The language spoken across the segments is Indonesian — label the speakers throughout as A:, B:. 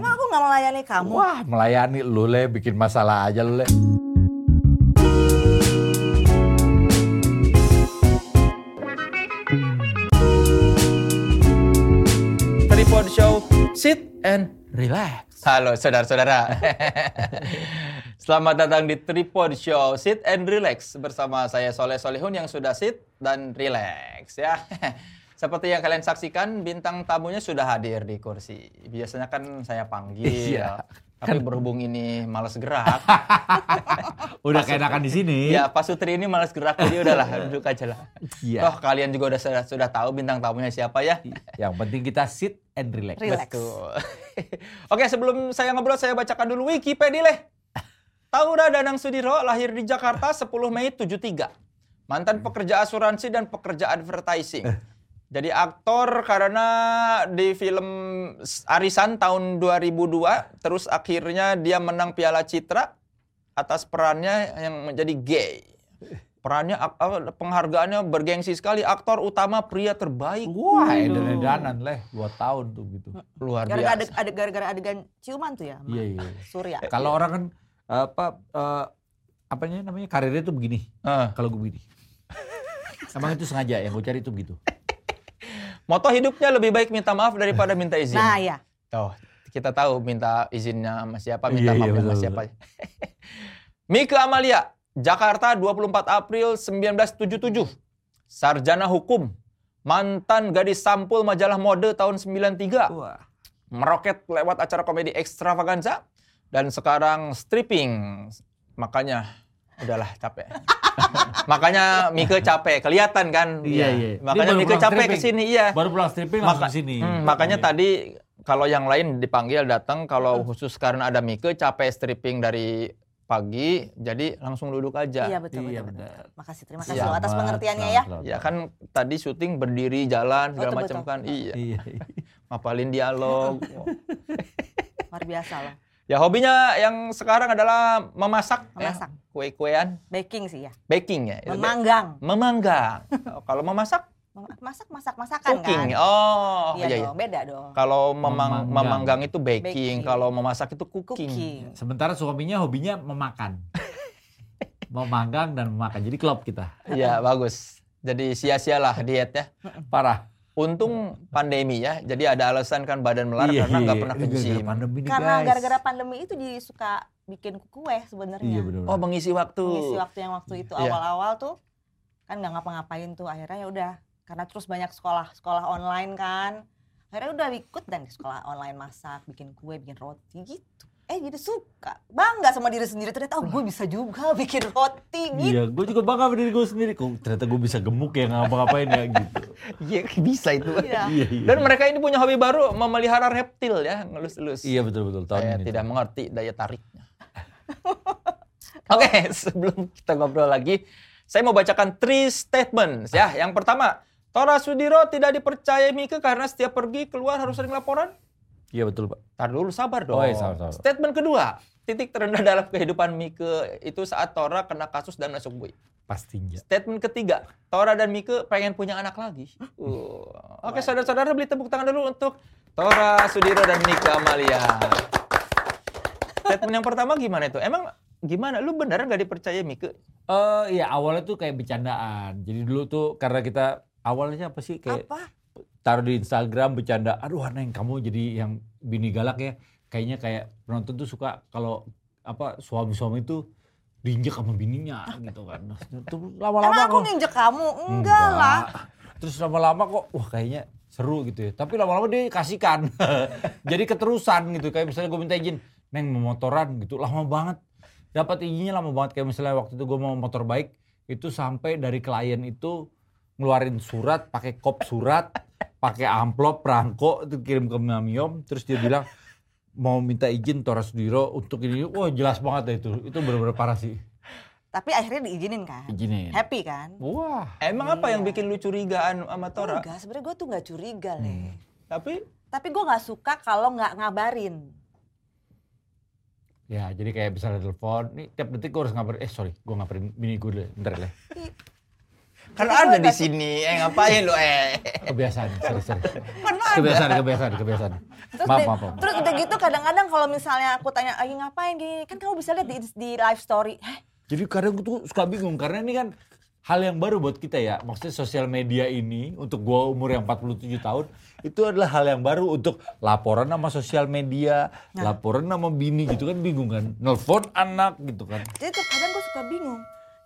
A: nggak melayani kamu?
B: Wah, melayani lu le, bikin masalah aja lu le.
C: Tripod Show, sit and relax.
D: Halo saudara-saudara. Selamat datang di Tripod Show Sit and Relax bersama saya Soleh Solihun yang sudah sit dan relax ya. Seperti yang kalian saksikan, bintang tamunya sudah hadir di kursi. Biasanya kan saya panggil,
B: Iya.
D: tapi berhubung ini malas gerak.
B: Udah keenakan di sini.
D: ya, Pak Sutri ini malas gerak, jadi udahlah duduk aja lah.
B: Iya.
D: Toh kalian juga udah sudah, sudah tahu bintang tamunya siapa ya.
B: Yang penting kita sit and relax.
A: Relax.
D: Betul. Oh. Oke, sebelum saya ngobrol, saya bacakan dulu Wikipedia leh. Taura Danang Sudiro lahir di Jakarta 10 Mei 73. Mantan pekerja asuransi dan pekerja advertising. Jadi aktor karena di film Arisan tahun 2002, terus akhirnya dia menang Piala Citra atas perannya yang menjadi gay. Perannya ak- apa, penghargaannya bergengsi sekali aktor utama pria terbaik.
B: Wah, edan-edanan leh, dua tahun tuh gitu.
A: Mm.
D: Luar
A: Gara-gara
D: biasa.
A: adeg- adeg- gara-gara adegan ciuman tuh ya, sama
B: Iya, iya.
A: Surya.
B: Kalau orang kan apa eh, apanya namanya karirnya tuh begini.
D: Eh.
B: Kalau gue begini. Emang itu sengaja yang gue cari itu begitu.
D: Moto hidupnya lebih baik minta maaf daripada minta izin.
A: Nah ya,
D: Tuh, kita tahu minta izinnya sama siapa,
B: Oh. Iya, iya,
D: minta maafnya sama
B: betul,
D: siapa. Mika Amalia, Jakarta 24 April 1977. Sarjana hukum, mantan gadis sampul majalah mode tahun 93.
B: Wah.
D: Meroket lewat acara komedi Extravaganza dan sekarang stripping. Makanya udahlah capek. Makanya Mika capek, kelihatan kan?
B: Iya, iya. Ini
D: Makanya
B: baru
D: Mika
B: pulang
D: capek ke
B: stripping.
D: sini, iya.
B: Baru pulang stripping
D: Maka-
B: langsung sini. Iya.
D: Hmm, makanya tadi kalau yang lain dipanggil datang, kalau khusus karena ada Mike capek stripping dari pagi, jadi langsung duduk aja.
A: iya betul,
B: Iya,
A: betul, betul.
B: benar.
A: Makasih, terima kasih loh atas pengertiannya ya.
D: Ya kan tadi syuting berdiri jalan segala
A: Betul,
D: macam
A: betul.
D: kan. Iya.
B: Iya.
D: Ngapalin dialog.
A: Luar biasa loh.
D: ya hobinya yang sekarang adalah memasak,
A: Memasak.
D: ya. Kue-kuean,
A: Baking sih ya,
D: baking ya.
B: Iya,
D: Itu ba-
A: memanggang.
D: Memanggang. Oh, kalau memasak
A: Mem- Masak, masak, masakan
D: cooking.
A: kan.
D: Oh,
A: iya,
D: iya iya.
A: dong, beda dong.
D: Kalau memang,
B: Memanggang.
D: memanggang itu
A: Baking.
D: baking, kalau memasak itu cooking.
A: Cooking.
B: Sementara suaminya hobinya memakan. Memanggang dan memakan. Jadi klop kita.
D: Iya, bagus. Jadi sia-sialah dietnya.
B: Parah.
D: Untung pandemi ya, jadi ada alasan kan badan melar karena nggak pernah ke gym.
B: Iya, pandemi nih,
A: Karena
B: guys.
A: gara-gara pandemi itu jadi suka bikin kue sebenarnya.
B: Iya benar.
D: Oh mengisi waktu.
A: Mengisi waktu yang waktu itu
D: Iya.
A: awal-awal tuh kan nggak ngapa-ngapain tuh akhirnya ya udah karena terus banyak sekolah sekolah online kan akhirnya udah ikut dan di sekolah online masak bikin kue bikin roti gitu eh jadi suka bangga sama diri sendiri ternyata oh gue bisa juga bikin roti gitu
B: Iya, gue juga bangga sama diri gue sendiri. Kok ternyata gue bisa gemuk ya ngapa-ngapain ya gitu.
D: Iya bisa itu.
A: Iya.
B: Iya, iya.
D: Dan mereka ini punya hobi baru memelihara reptil ya, ngelus-elus.
B: Iya betul betul tahun
D: Saya
B: ini.
D: tidak mengerti daya tariknya. Oke, sebelum kita ngobrol lagi, saya mau bacakan three statements ya. Yang pertama, Tora Sudiro tidak dipercaya Mika karena setiap pergi keluar harus sering laporan.
B: Iya betul pak.
D: Tar dulu sabar dong.
B: Oh, iya, sabar, sabar.
D: Statement kedua, titik terendah dalam kehidupan Mike itu saat Tora kena kasus dan masuk bui.
B: Pastinya.
D: Statement ketiga, Tora dan Mike pengen punya anak lagi. Uh.
B: Oh
D: Oke, saudara-saudara beli tepuk tangan dulu untuk Tora Sudiro dan Mike Amalia. Statement yang pertama gimana itu? Emang gimana? Lu beneran gak dipercaya Mike?
B: Eh iya awalnya tuh kayak bercandaan. Jadi dulu tuh karena kita awalnya apa sih kayak
A: apa
B: taruh di Instagram bercanda. Aduh Neng kamu jadi yang bini galak ya. Kayaknya kayak penonton tuh suka kalau apa suami-suami itu diinjek sama bininya gitu kan. Nah, Tuh
A: emang
B: lama-lama
A: aku
B: kok-
A: nginjek kamu enggak lah
B: Terus lama-lama kok wah kayaknya seru gitu ya. Tapi lama-lama dia kasihkan. Jadi keterusan gitu. Kayak misalnya gue minta izin, Neng mau motoran gitu. Lama banget. Dapat izinnya lama banget. Kayak misalnya waktu itu gue mau motor baik, itu sampai dari klien itu ngeluarin surat, pakai kop surat, pakai amplop, perangko, itu kirim ke Mamiom. Terus dia bilang, mau minta izin Tora Sudiro untuk ini. Wah jelas banget ya itu. Itu bener-bener parah sih.
A: tapi akhirnya diizinin kan
B: Izinin.
A: happy kan
B: Wah.
D: Emang apa yang bikin lu curigaan sama Tora?
A: enggak sebenarnya gue tuh nggak curiga leh
D: Tapi
A: tapi gue nggak suka kalau nggak ngabarin
B: Ya, jadi kayak ya. misalnya telepon, nih tiap detik gue harus ngabarin, eh sorry, gue ngabarin bini gue dulu, bentar deh.
D: Kan
A: Tapi gua
D: ada di
A: nggak-
D: sini. Eh ngapain lu eh?
B: Kebiasaan, sorry, sorry.
A: Kan ada.
B: Kebiasaan, kebiasaan, kebiasaan.
A: Terus,
B: Maaf,
A: di-
B: maaf, maaf.
A: terus udah gitu kadang-kadang kalau misalnya aku tanya lagi ngapain gini, kan kamu bisa lihat di, di live story. Heh,
B: Jadi kadang gue tuh suka bingung karena ini kan hal yang baru buat kita ya. Maksudnya sosial media ini untuk gua umur yang 47 tahun itu adalah hal yang baru untuk laporan sama sosial media, laporan sama bini gitu kan bingung kan. Nelfon anak gitu kan.
A: jadi tuh kadang gue suka bingung.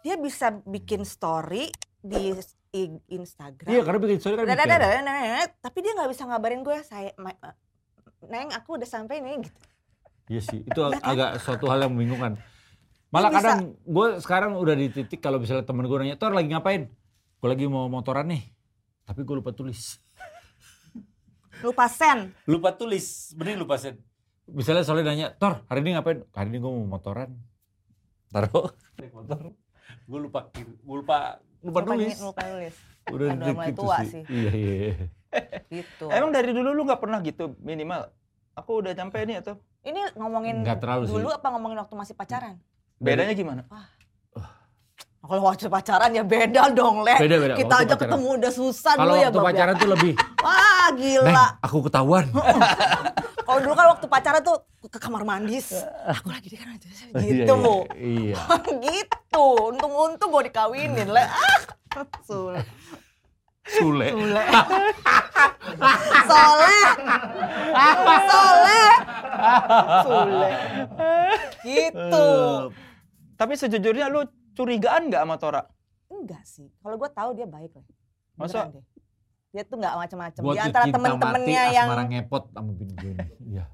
A: Dia bisa bikin story di i- Instagram.
B: Iya karena bikin story kan
A: Dadah,
B: bikin.
A: dadah, dadah, dadah, dadah. tapi dia nggak bisa ngabarin gue saya ma- ma- neng aku udah sampai nih gitu
B: Iya sih, itu ag- agak suatu hal yang membingungkan. Malah
A: Bisa.
B: kadang gue sekarang udah di titik kalau misalnya temen gue nanya, Tor lagi ngapain? Gue lagi mau motoran nih, tapi gue lupa tulis.
A: lupa sen
B: Lupa tulis, bener lupa sen. Misalnya soalnya nanya, Tor hari ini ngapain? Hari ini gue mau motoran. Taruh, naik motor. Gue lupa, gue lupa, lupa,
A: lupa
B: tulis.
A: nulis lupa nulis
B: Udah
A: Aduh,
B: di titik
A: mulai
B: itu
A: tua sih.
B: Iya, iya, iya.
A: gitu
D: Emang dari dulu lu nggak pernah gitu minimal. Aku udah sampai nih atau
A: ini ngomongin
B: Nggak terlalu sih.
A: dulu apa ngomongin waktu masih pacaran
D: bedanya gimana?
A: kalau waktu pacaran ya beda dong le
B: Beda, beda.
A: kita
B: Waktu
A: aja
B: pacaran.
A: ketemu udah susah
B: Kalau
A: dulu ya
B: waktu
A: Bab, ya.
B: pacaran tuh lebih,
A: wah
B: Neng,
A: gila
B: aku ketahuan.
A: kalau dulu kan waktu pacaran tuh ke kamar mandi aku lagi di kamar mandi
B: Iya,
A: gitu
B: Iya. iya.
A: gitu untung-untung gue dikawinin le ah sulit
B: Sule.
A: Soleh. Soleh. Soleh. Gitu.
D: Tapi sejujurnya lu curigaan nggak sama Tora?
A: Enggak sih. Kalau gue tahu dia baik loh. Beneran
D: Masa?
A: deh. Dia tuh nggak macam-macam.
B: Gua
A: Di
B: tuh
A: antara
B: cinta
A: temen-temennya
B: mati,
A: yang
B: asmara ngepot sama bini gue ini. Iya.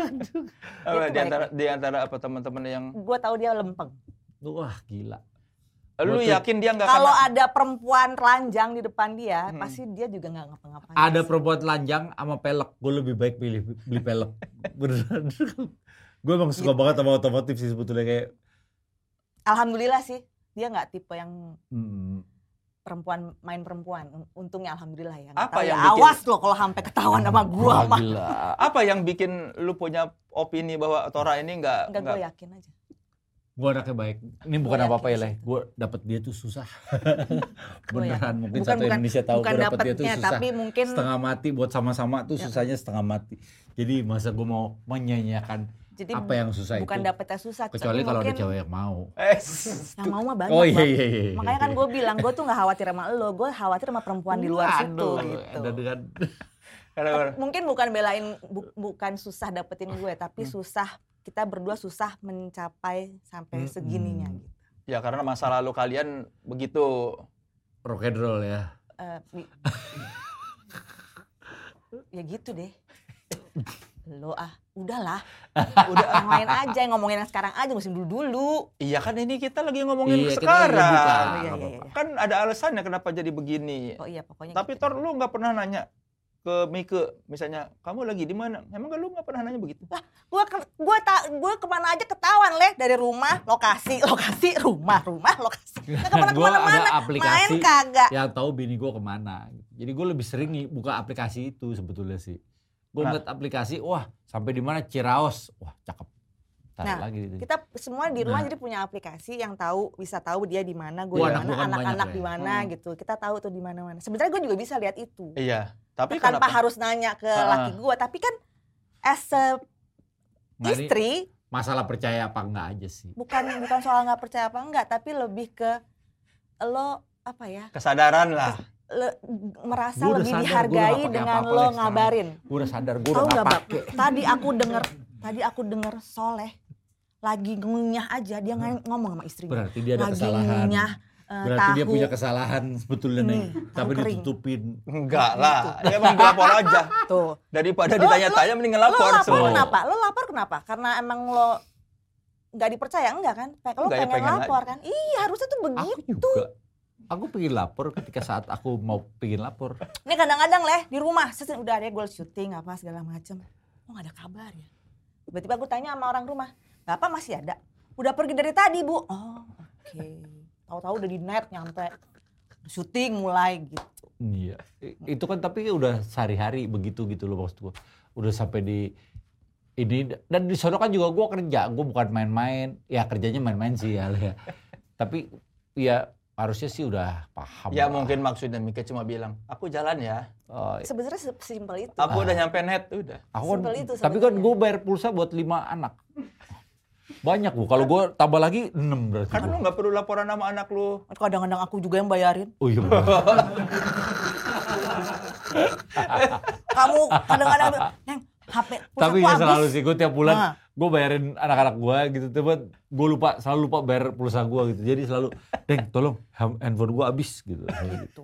D: Eh,
A: Itu
D: Di antara di antara apa teman-teman yang
A: gue tahu dia lempeng.
B: Wah, gila.
D: lu
B: Gua tuh-
D: yakin dia nggak
A: Kalau
D: akan-
A: ada perempuan telanjang di depan dia,
D: Hmm.
A: pasti dia juga nggak ngapa-ngapain.
B: Ada
A: sih.
B: perempuan telanjang sama pelek, gue lebih baik pilih beli pelek. Beneran. gue emang
A: Iya.
B: suka banget sama otomotif sih sebetulnya kayak
A: Alhamdulillah sih, dia nggak tipe yang
B: mm,
A: perempuan main perempuan. Untungnya alhamdulillah ya. nggak
D: Apa
A: tahu ya.
D: yang bikin-
A: Awas loh kalau sampai ketahuan sama gua
B: wah,
A: mah.
B: gila.
D: apa yang bikin lu punya opini bahwa Tora ini nggak
A: Enggak gue yakin aja.
B: Gue anaknya baik. Ini bukan
A: Gua
B: apa-apa ya,
A: yakin
B: Leh. Gue dapet dia tuh susah.
A: Gua
B: Beneran, mungkin
A: Oh, iya. Bukan-
B: satu
A: bukan-
B: Indonesia tahu
A: bukan
B: gue dapet dia tuh
A: dapetnya,
B: susah.
A: tapi Iya. mungkin
B: Setengah mati buat sama-sama tuh susahnya setengah mati. Jadi masa gue mau menyanyiakan
A: jadi
B: apa yang susah
A: bukan
B: itu.
A: dapetnya susah.
B: Kecuali
A: tapi
B: kalau ada
A: mungkin
B: cewek yang mau.
D: Eh,
A: Yang mau mah banyak.
B: Oh iya
A: Bang.
B: iya iya. iya.
A: Makanya kan gue bilang gue tuh nggak khawatir sama lo, gue khawatir sama perempuan di luar situ
B: Aduh,
A: gitu.
B: ada Oh, iya, dengan
D: karena-
A: Mungkin bukan belain bu- bukan susah dapetin gue, tapi
B: Hmm.
A: susah kita berdua susah mencapai sampai
B: Hmm.
A: segininya gitu.
D: ya karena masa lalu kalian begitu
B: rock and roll ya.
A: Eh, bi- ya gitu deh. Lo ah, udahlah. Udah yang lain aja yang ngomongin yang sekarang aja musim dulu dulu.
D: iya kan ini kita lagi ngomongin
B: Iya, kita lagi buka.
D: sekarang
A: Oh, iya,
B: nggak
A: iya,
B: apa-apa.
A: iya.
D: kan ada alasannya kenapa jadi begini
A: Oh iya pokoknya
D: tapi
A: gitu.
D: Tor lu nggak pernah nanya ke Mika misalnya kamu lagi di mana emang lu nggak pernah nanya begitu
A: gua ke, gua ta, gua kemana aja ketahuan leh dari rumah lokasi lokasi rumah rumah lokasi nggak kemana
B: Gua
A: kemana
B: ada
A: mana main kan?
B: aplikasi
A: kagak
B: yang tahu bini gue kemana. Jadi gue lebih sering nih buka aplikasi itu sebetulnya sih. Gue
D: Nah.
B: ngeliat aplikasi, wah sampai di mana Ciraos, wah cakep. Taruh
A: Nah,
B: lagi gitu. itu.
A: kita semua di rumah
B: Hmm. Nah.
A: jadi punya aplikasi yang tahu bisa tahu dia di mana
B: Wah,
A: gua di
B: anak
A: mana
B: gua kan
A: anak-anak
B: banyak,
A: di
B: Leh.
A: mana
D: Hmm.
A: gitu kita tahu tuh di mana mana sebenarnya gua juga bisa lihat itu
D: iya tapi
A: tanpa
D: kenapa
A: harus nanya ke
D: Ah.
A: laki gua tapi kan as a
B: Nah, ini
A: istri
B: masalah percaya apa enggak aja sih.
A: bukan bukan soal nggak percaya apa enggak tapi lebih ke lo apa ya
D: kesadaran lah
A: le- merasa
B: Gua udah
A: lebih
B: sadar, gua udah nggak
A: dihargai
B: pakai
A: dengan
B: apa-apa,
A: lo
B: Lex, sekarang.
A: ngabarin
B: Gue udah sadar, gue udah
A: Tahu
B: gak
A: nggak Bab?
B: pake.
A: Tadi aku denger, tadi aku denger Soleh lagi ngunyah aja dia ng- ngomong sama istrinya.
B: Berarti dia ada
A: lagi
B: kesalahan.
A: ngunyah eh,
B: Berarti
A: tahu. Hmm,
B: dia punya kesalahan sebetulnya
A: Ini,
B: nih.
A: tahu
B: Tapi
A: kering.
B: ditutupin.
D: enggak lah dia emang lapor aja
A: Tuh.
D: daripada
A: Lu-
D: ditanya-tanya mending
A: Lo
D: ngelapor
A: lapor
D: semua.
A: kenapa? Lo lapor kenapa? Karena emang lo nggak dipercaya enggak kan? Kayak lo
D: Enggak, ya
A: pengen,
D: pengen
A: lapor kan? Iya harusnya tuh begitu.
D: Gitu.
B: Aku juga. Aku pengen lapor ketika saat aku mau pengen lapor.
A: Ini kadang-kadang leh di rumah, sesin udah ada gue syuting apa segala macem. Oh gak ada kabar ya? Tiba-tiba gue tanya sama orang rumah, bapak masih ada? Udah pergi dari tadi bu. Oh oke. Tahu-tahu udah di net nyampe syuting mulai gitu.
B: Iya. I- Itu kan tapi udah sehari-hari begitu gitu loh maksud gua. Udah sampai di ini dan di sono kan juga gua kerja, gua bukan main-main. Ya kerjanya main-main sih ya. Le, ya. tapi ya harusnya sih udah paham.
D: Ya
B: lah.
D: mungkin maksudnya Mika cuma bilang, aku jalan ya.
B: Oh,
A: Sebenarnya se- sesimpel itu.
D: Aku udah nyampe net, udah.
B: aku kan-
A: Simpel itu
B: tapi kan
A: sebetulnya.
B: gue bayar pulsa buat lima anak. Banyak bu. Kalau gue tambah lagi enam berarti.
D: Kan
B: gua.
D: lu nggak perlu laporan sama anak lu.
A: Kadang-kadang aku juga yang bayarin.
B: Oh iya.
A: Kamu kadang-kadang bilang, Neng, HP pulsa
B: Tapi
A: aku
B: ya
A: habis."
B: selalu sih gue tiap bulan
A: Nah.
B: gue bayarin anak-anak gue gitu tiba gue lupa selalu lupa bayar pulsa gue gitu. Jadi selalu, "Deng, tolong hand- handphone gue habis." gitu.
A: gitu.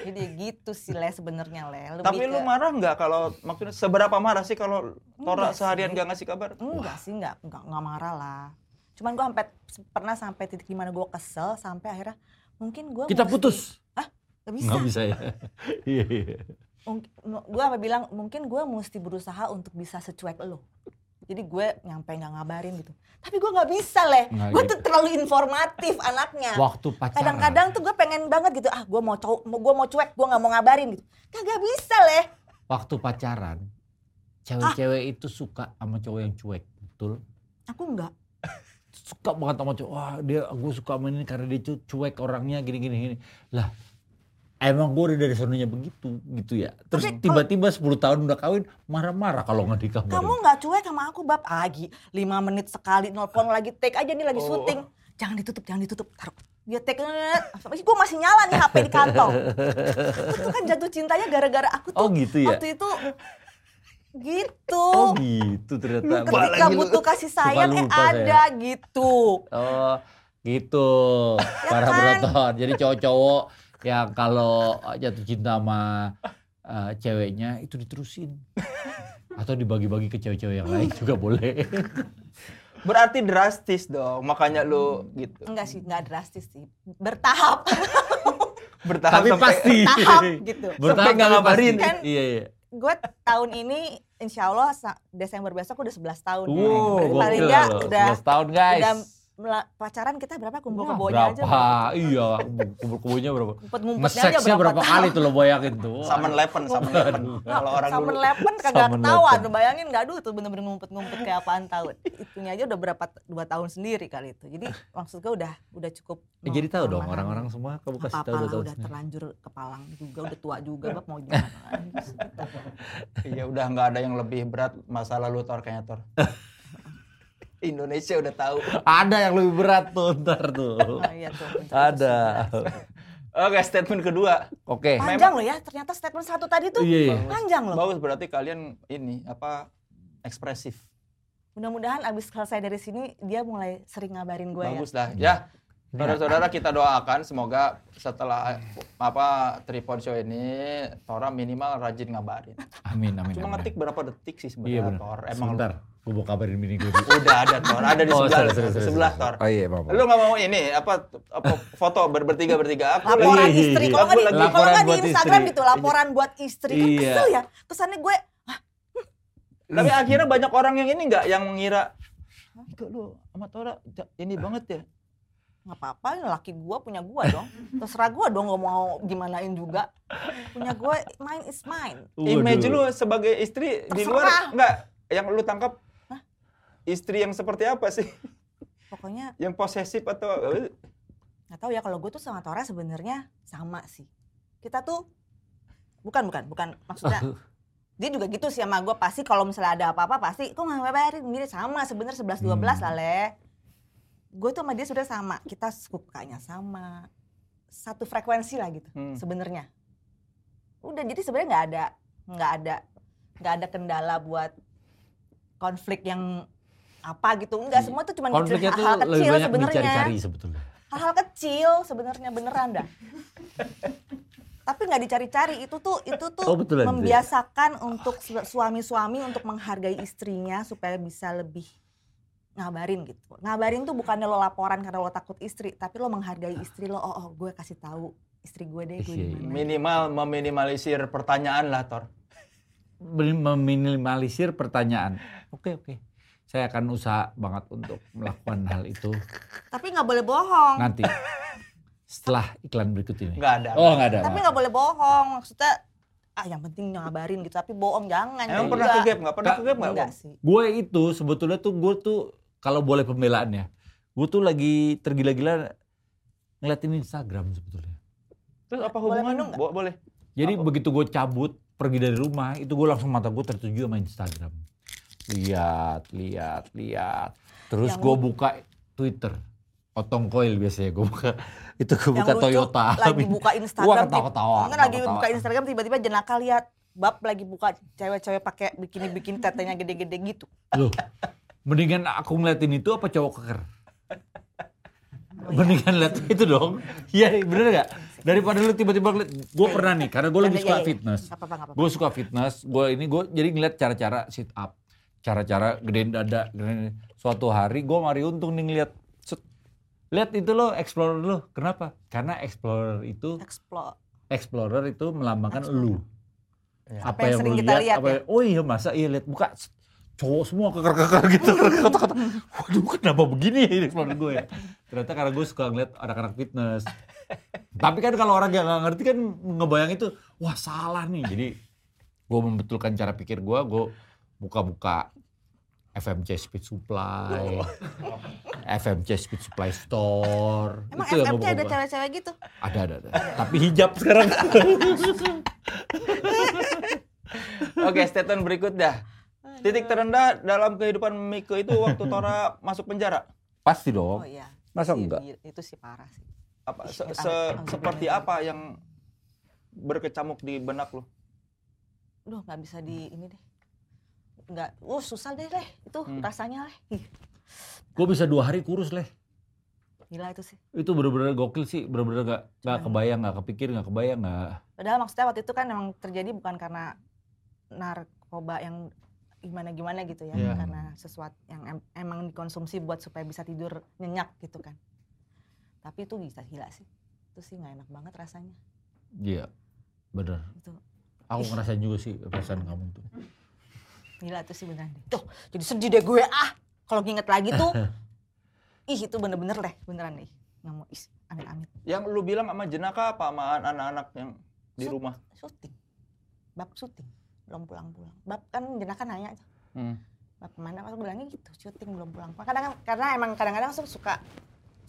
A: Jadi gitu sih Le sebenarnya Le. Lebih
D: Tapi lu
A: ke-
D: marah nggak kalau maksudnya seberapa marah sih kalau Tora
A: Enggak
D: seharian
A: sih.
D: nggak ngasih kabar?
A: enggak sih enggak, enggak enggak marah lah. Cuman gua sampai pernah sampai titik dimana gua kesel sampai akhirnya mungkin gua mesti-
B: Kita putus.
A: Nggak bisa.
B: Nggak bisa ya. Iya iya.
A: Mungkin- mu- Gua apa bilang mungkin gua mesti berusaha untuk bisa secuek lo. Jadi gue nyampe nggak ngabarin gitu. Tapi gua nggak bisa Le.
B: Nggak
A: Gue
B: gitu.
A: tuh terlalu informatif anaknya.
B: Waktu pacaran.
A: Kadang-kadang tuh gue pengen banget gitu, ah gue mau cowok, gue mau cuek, gue nggak mau ngabarin gitu. Kagak bisa Le.
B: waktu pacaran cewek-cewek itu suka sama cowok yang cuek betul
A: Aku nggak.
B: suka banget sama cowok wah dia gue suka sama ini karena dia cu- cuek orangnya gini gini gini lah emang gue udah dari sononya begitu gitu ya terus
A: Tapi kalau-
B: tiba-tiba 10 tahun udah kawin marah-marah kalau nggak dikabarin
A: Kamu nggak cuek sama aku bab agi lima menit sekali nelpon lagi take aja nih lagi
D: Oh.
A: syuting. Jangan ditutup, jangan ditutup. Taruh. Dia take. Gue masih nyala nih HP di kantong. Aku tuh kan jatuh cintanya gara-gara aku tuh
B: oh gitu ya
A: waktu itu gitu.
B: oh gitu ternyata
D: Lupa
A: Ketika
D: lagi lu.
A: butuh kasih sayang eh
B: lupa saya.
A: ada gitu.
B: Oh, gitu. para
A: kan?
B: penonton. Jadi cowok-cowok yang kalau ah, jatuh cinta sama eh, ceweknya itu diterusin. Atau dibagi-bagi ke cewek-cewek yang lain juga boleh.
D: Berarti drastis dong, makanya lu gitu.
A: Enggak sih, enggak drastis sih. Bertahap,
D: Bertahan sampai
A: bertahap gitu.
B: Bertahan
D: Sampai nggak ngabarin.
A: Kan?
B: Iya, iya.
A: Gue tahun ini insya Allah sa- Desember besok udah 11 tahun.
B: Wow,
A: Berarti paling
B: gokil
A: nggak
B: loh.
A: udah
B: 11 tahun, guys.
A: udah mela- pacaran kita berapa kumpul
B: Wah,
A: kebonya
B: berapa?
A: aja berapa?
B: Iya, kumpul-kumpulnya berapa?
A: ngumpet ngumpetnya aja
B: Ngeseksnya berapa
A: tahun.
B: kali tuh lo bayangin tuh.
D: Summon Leven, Summon Leven. Kalau orang
A: Samen
D: dulu.
A: lepen kagak
B: Samen
A: ketawa,
B: lepen.
A: Aduh, bayangin nggak aduh tuh bener-bener ngumpet-ngumpet kayak apaan tahun. Itunya aja udah berapa t- dua tahun sendiri kali itu. Jadi maksud gue udah udah cukup.
B: Eh, jadi tahu dong
A: memahami.
B: orang-orang semua kamu
A: Nggak
B: kasih
A: apa-apa
B: tahu udah
A: lah,
B: tahu
A: udah
B: sendiri.
A: terlanjur kepalang juga, udah tua juga, bab mau gimana.
D: Iya udah nggak ada yang lebih berat masa lalu Tor kayaknya Tor. Indonesia udah tahu.
B: Ada yang lebih berat tuh ntar tuh.
A: Nah, iya tuh, untuk itu
B: Ada.
A: sudah.
D: Oke, statement kedua.
B: Oke.
A: Panjang loh ya, ternyata statement satu tadi tuh
B: Iya, iya.
A: panjang loh.
D: Bagus berarti kalian ini apa ekspresif.
A: Mudah-mudahan abis selesai dari sini dia mulai sering ngabarin gue ya.
D: Bagus lah.
B: Iya.
D: Ya. Saudara-saudara kita doakan semoga setelah apa tripod show ini Tora minimal rajin ngabarin.
B: Amin, amin.
D: Cuma
B: amin.
D: ngetik berapa detik
B: Iya
D: sih sebenarnya
B: benar.
D: Tor.
B: Emang
D: Emang
B: Sebentar, gue mau kabarin bini gue.
D: udah ada Tor, ada di sebelah,
B: sorry, sorry, sorry,
D: sebelah
B: sorry.
D: Tor.
B: Oh iya, maaf.
D: Lu nggak mau ini apa, apa foto ber- bertiga bertiga aku
A: laporan
B: Iya, iya,
A: istri
B: iya.
A: kalau nggak di,
B: Laporan
A: kalau nggak di
B: buat
A: Instagram
B: istri.
A: gitu laporan buat istri kan
B: Iya.
A: kesel ya kesannya gue
D: Tapi akhirnya banyak orang yang ini nggak yang mengira Mika lu sama Tora ja- ini banget ya.
A: nggak apa-apa ini laki gue punya gue dong terserah gue dong nggak mau gimanain juga punya gue mine is mine
D: Image lu sebagai istri di
A: Terserah.
D: luar nggak yang lu tangkap istri yang seperti apa sih?
A: pokoknya
D: Yang posesif atau
A: nggak tahu ya kalau gue tuh sama Tora sebenarnya sama sih kita tuh bukan bukan bukan
B: Nah,
A: maksudnya dia juga gitu sih sama gue pasti kalau misalnya ada apa-apa pasti kok nggak ngabarin gini sama sebenarnya 11 12
B: Hmm.
A: lah le gue tuh sama dia sudah sama kita sukanya sama satu frekuensi lah gitu
D: Hmm.
A: sebenarnya udah jadi sebenarnya nggak ada nggak ada nggak ada kendala buat konflik yang apa gitu enggak semua tuh cuma
B: Iya. Konfliknya tuh
A: hal
B: lebih
A: kecil
B: banyak
A: sebenarnya
B: dicari-cari sebetulnya.
A: hal-hal kecil sebenarnya beneran dah. Tapi nggak dicari-cari itu tuh itu tuh
B: Oh, betulan, betul.
A: membiasakan untuk su- suami-suami untuk menghargai istrinya supaya bisa lebih ngabarin gitu. Ngabarin tuh bukannya lo laporan karena lo takut istri, tapi lo menghargai istri lo. Oh, oh gue kasih tahu istri gue deh gue
B: Iya, iya.
A: gimana.
D: minimal meminimalisir pertanyaan lah Tor.
B: Mem- Meminimalisir pertanyaan. Oke, oke. Saya akan usaha banget untuk melakukan hal itu
A: Tapi nggak boleh bohong.
B: nanti. Setelah iklan berikut ini.
D: Nggak ada.
B: Oh, enggak ada.
A: Tapi nggak boleh bohong. Maksudnya ah yang penting ngabarin gitu, tapi bohong jangan.
D: Emang
A: juga.
D: pernah ke gap nggak? Pernah ke gap nggak?
A: Enggak sih.
B: Gue itu sebetulnya tuh gue tuh kalau boleh pembelaannya, gue tuh lagi tergila-gila ngeliatin Instagram sebetulnya.
D: Terus apa
A: Boleh minum
D: hubungannya?
A: nggak?
D: Bo- boleh.
B: Jadi
D: Apa?
B: begitu gue cabut pergi dari rumah, itu gue langsung mata gue tertuju sama Instagram. Lihat, lihat, lihat. Terus
A: Yang-
B: gue buka Twitter. Otong koil biasanya gue buka. Itu gue
A: Yang
B: buka
A: lucu,
B: Toyota.
A: lagi buka
B: Gua
A: Instagram.
B: ketawa-ketawa,
A: tiba- kan lagi
B: ketawa-ketawa.
A: buka Instagram tiba-tiba jenaka lihat bab lagi buka cewek-cewek pakai bikini-bikini tetenya gede-gede gitu.
B: Loh, mendingan aku ngeliatin itu apa cowok keker? Mendingan lihat itu dong. Iya bener gak? Daripada lu tiba-tiba ngeliat. Gue pernah nih, karena gue lagi
A: Iya,
B: suka
A: iya, iya.
B: fitness.
A: Nggak apa-apa, nggak apa-apa.
B: Gue suka fitness, gue ini gue jadi ngeliat cara-cara sit up. Cara-cara gedein dada, gedein. Suatu hari gue mari untung nih ngeliat. set. Lihat itu lo, explorer lo. Kenapa? Karena explorer itu,
A: Explore.
B: explorer itu melambangkan lu.
D: Ya.
B: Apa, yang, sering kita lihat, apa
A: ya?
B: yang- Oh iya masa, iya lihat buka. set. Cowok semua keker-keker gitu. Kata-kata, waduh kenapa begini ya ini explorer gue ya. Ternyata karena gue suka ngeliat anak-anak fitness. Tapi kan kalau orang yang gak ngerti kan ngebayang itu, wah salah nih. Jadi gue membetulkan cara pikir gue, gue buka-buka FMC Speed Supply, FMC Speed Supply Store.
A: Emang FFC
B: yang gua
A: ada
B: buka-buka.
A: cewek-cewek gitu?
B: Ada, ada, ada. Tapi hijab sekarang.
D: Oke, statement berikut dah. Titik terendah dalam kehidupan Miko itu waktu Tora masuk penjara.
B: Pasti
A: Oh
B: dong.
A: iya.
B: Masa
A: Ih,
B: enggak?
A: gila, Itu sih parah sih.
D: Apa se-
A: Ih,
D: se-
A: ampun.
D: seperti apa yang berkecamuk di benak lu?
A: Duh nggak bisa
B: Hmm.
A: di ini deh. Nggak, uh susah deh deh. Itu
D: Hmm.
A: rasanya leh. Ih,
B: Gue bisa dua hari kurus leh.
A: Gila itu sih.
B: Itu bener-bener gokil sih, bener-bener gak, nggak kebayang, gak kepikir, gak kebayang, gak...
A: Padahal maksudnya waktu itu kan emang terjadi bukan karena narkoba yang gimana-gimana gitu ya,
B: Iya.
A: karena sesuatu yang em- emang dikonsumsi buat supaya bisa tidur nyenyak gitu kan. Tapi itu bisa gila sih. Itu sih nggak enak banget rasanya.
B: Iya, bener.
A: Itu
B: Aku ngerasain juga sih perasaan kamu tuh.
A: gila itu sih beneran deh. Tuh, jadi sedih deh gue ah. Kalau nginget lagi tuh ih itu bener-bener deh, beneran deh. Nggak mau is, amit-amit.
D: Yang lu bilang sama jenaka apa sama an- anak-anak yang di
A: Set.
D: rumah?
A: Syuting. Bab syuting. Belum pulang-pulang. Bab kan jenaka nanya
D: Hmm.
A: Nah, kemana aku bilangnya gitu syuting belum pulang kadang karena emang kadang-kadang aku suka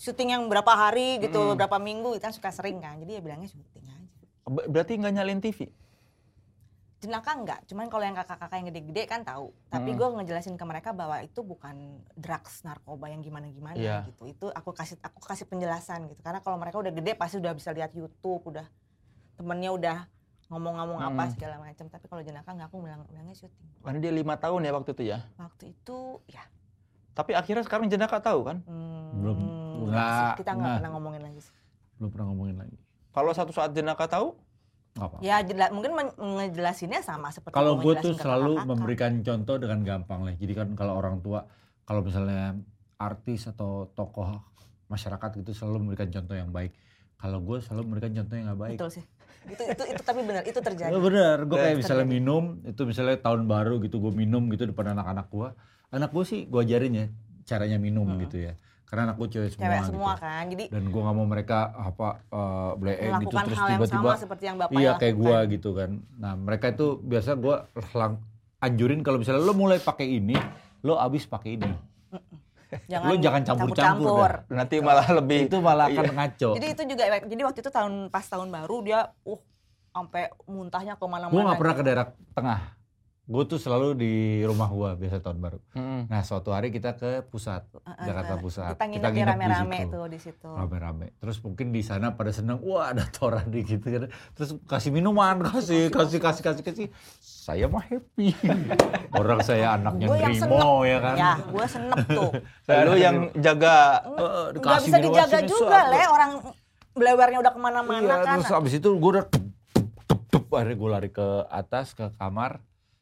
A: syuting yang berapa hari gitu
D: Mm-mm.
A: berapa minggu itu kan suka sering kan jadi ya bilangnya syuting aja
D: Ber- Berarti nggak nyalin TV?
A: jenaka enggak cuman kalau yang kakak-kakak yang gede-gede kan tahu tapi
D: Mm-mm.
A: gue ngejelasin ke mereka bahwa itu bukan drugs narkoba yang gimana-gimana
D: Iya.
A: gitu itu aku kasih aku kasih penjelasan gitu karena kalau mereka udah gede pasti udah bisa lihat YouTube udah temennya udah ngomong-ngomong apa
D: Mm-mm.
A: segala macam tapi kalau jenaka enggak aku bilang bilangnya syuting
D: Karena dia lima tahun ya waktu itu ya.
A: waktu itu ya
D: Tapi akhirnya sekarang jenaka tahu kan?
A: hmm,
B: Belum.
A: enggak sih.
B: Enggak,
A: kita nggak
B: enggak.
A: pernah ngomongin lagi sih.
B: Belum pernah ngomongin lagi.
D: Kalau satu saat jenaka tahu,
B: Gak apa
A: Ya jela- mungkin men- ngejelasinnya sama seperti
B: Kalau
A: gua
B: gue
A: ngejelasin
B: tuh
A: ke
B: selalu
A: kakak-kakak.
B: memberikan contoh dengan gampang lah. Jadi kan kalau orang tua, kalau misalnya artis atau tokoh masyarakat gitu selalu memberikan contoh yang baik. Kalau gue selalu memberikan contoh yang gak baik.
A: Betul sih. Itu itu itu tapi benar itu terjadi.
B: Ya bener, gue kayak
A: Betul.
B: misalnya minum, itu misalnya tahun baru gitu gue minum gitu depan anak-anak gue. Anak gue sih gue ajarin ya caranya minum
A: Mm-mm.
B: gitu ya. Karena anak gue cewek semua,
A: Hmm. Cewek semua,
B: gitu.
A: kan. Jadi
B: Dan gue gak mau mereka apa eh bleeng gitu
A: melakukan
B: terus
A: hal yang
B: tiba-tiba
A: sama seperti yang Bapak ya.
B: Iya kayak gua
A: lakukan.
B: gitu kan. Nah mereka itu biasa gua lang anjurin kalau misalnya lo mulai pakai ini, lo abis pakai ini. Lo jangan campur-campur dah.
D: nanti malah
B: Nah,
D: lebih Iya.
B: Itu malah akan ngaco.
A: Jadi itu juga efek- jadi waktu itu tahun pas tahun baru dia uh sampai muntahnya gitu. kemana mana
B: Gua nggak pernah ke daerah tengah. Gue tuh selalu di rumah gua biasa tahun baru.
D: Mm-mm.
B: Nah suatu hari kita ke pusat Jakarta Pusat.
A: Kita nginep di rame-rame
B: situ.
A: tuh di situ.
B: rame-rame. Terus mungkin di sana pada seneng, wah ada Tora di gitu kan. Terus kasih minuman, kasih, kasih, kasih, kasih, kasih. Saya mah happy. Orang saya anaknya
A: Gua yang
B: nerimo ya kan.
A: Ya, gue senep tuh.
D: Lalu yang jaga
B: Eh,
A: Gak
B: dikasih
A: bisa
B: minuman
A: dijaga
B: sini,
A: juga,
B: suap.
A: Le. Orang belewernya udah kemana-mana
B: Iya,
A: kan.
B: terus abis itu gue udah tup, tup, tup. akhirnya gue lari ke atas ke kamar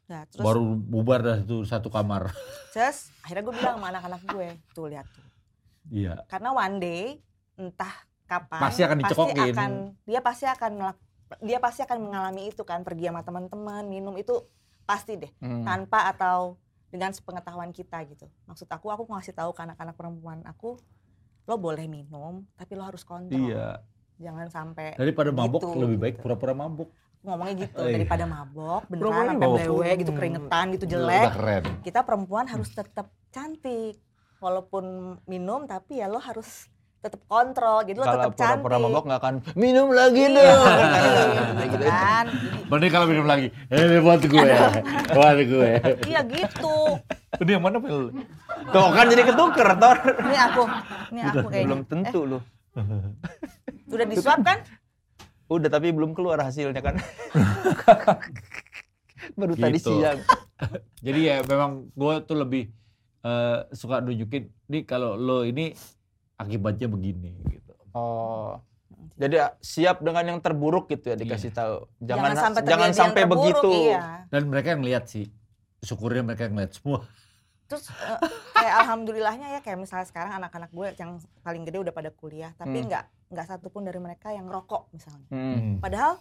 A: Nah, terus
B: baru bubar dah itu satu kamar
A: Terus akhirnya gue bilang sama anak-anak gue, tuh lihat tuh.
B: iya
A: Karena one day entah kapan
B: Pasti akan dicekokin.
A: akan- dia pasti akan melak- dia pasti akan mengalami itu kan pergi sama teman-teman, minum itu pasti deh.
B: Hmm.
D: Mm.
A: Tanpa atau dengan sepengetahuan kita gitu. Maksud aku aku ngasih tahu ke anak-anak perempuan aku lo boleh minum tapi lo harus kontrol.
B: iya
A: Jangan sampai
B: daripada mabuk
A: Gitu,
B: lebih
A: gitu.
B: baik pura-pura mabuk
A: ngomongnya gitu
B: Iya.
A: daripada mabok beneran
B: Pura-pura
A: sampai
B: mabok.
A: blewe gitu keringetan gitu jelek
B: udah keren
D: Hmm.
A: kita perempuan harus tetap cantik walaupun minum tapi ya lo harus tetap kontrol jadi lo
D: Kalau
A: tetap cantik
D: pura-pura Nah, mabok nggak akan minum lagi dong.
A: gitu kan Jadi,
B: Mending kalau minum lagi. Eh, buat gue. Buat gue.
A: iya gitu
C: Udah yang mana Pel?
D: Tuh kan jadi ketuker, Tor.
A: ini aku ini aku kayaknya
D: Belum tentu loh.
A: Eh, udah disuap kan
D: Udah tapi belum keluar hasilnya kan. Baru tadi
B: Gitu.
D: siang.
B: Jadi ya memang gue tuh lebih eh, suka nunjukin, nih kalau lo ini akibatnya begini gitu.
D: Oh. Jadi siap dengan yang terburuk gitu
B: Iya.
D: ya dikasih tahu. Jangan ah, jangan sampai,
A: terjadi yang terburuk,
D: begitu.
A: iya.
B: Dan mereka yang lihat sih. Syukurnya mereka yang lihat semua.
A: terus eh, kayak alhamdulillahnya ya kayak misalnya sekarang anak-anak gue yang paling gede udah pada kuliah tapi
D: Hmm.
A: nggak nggak satupun dari mereka yang ngerokok misalnya
D: Hmm.
A: padahal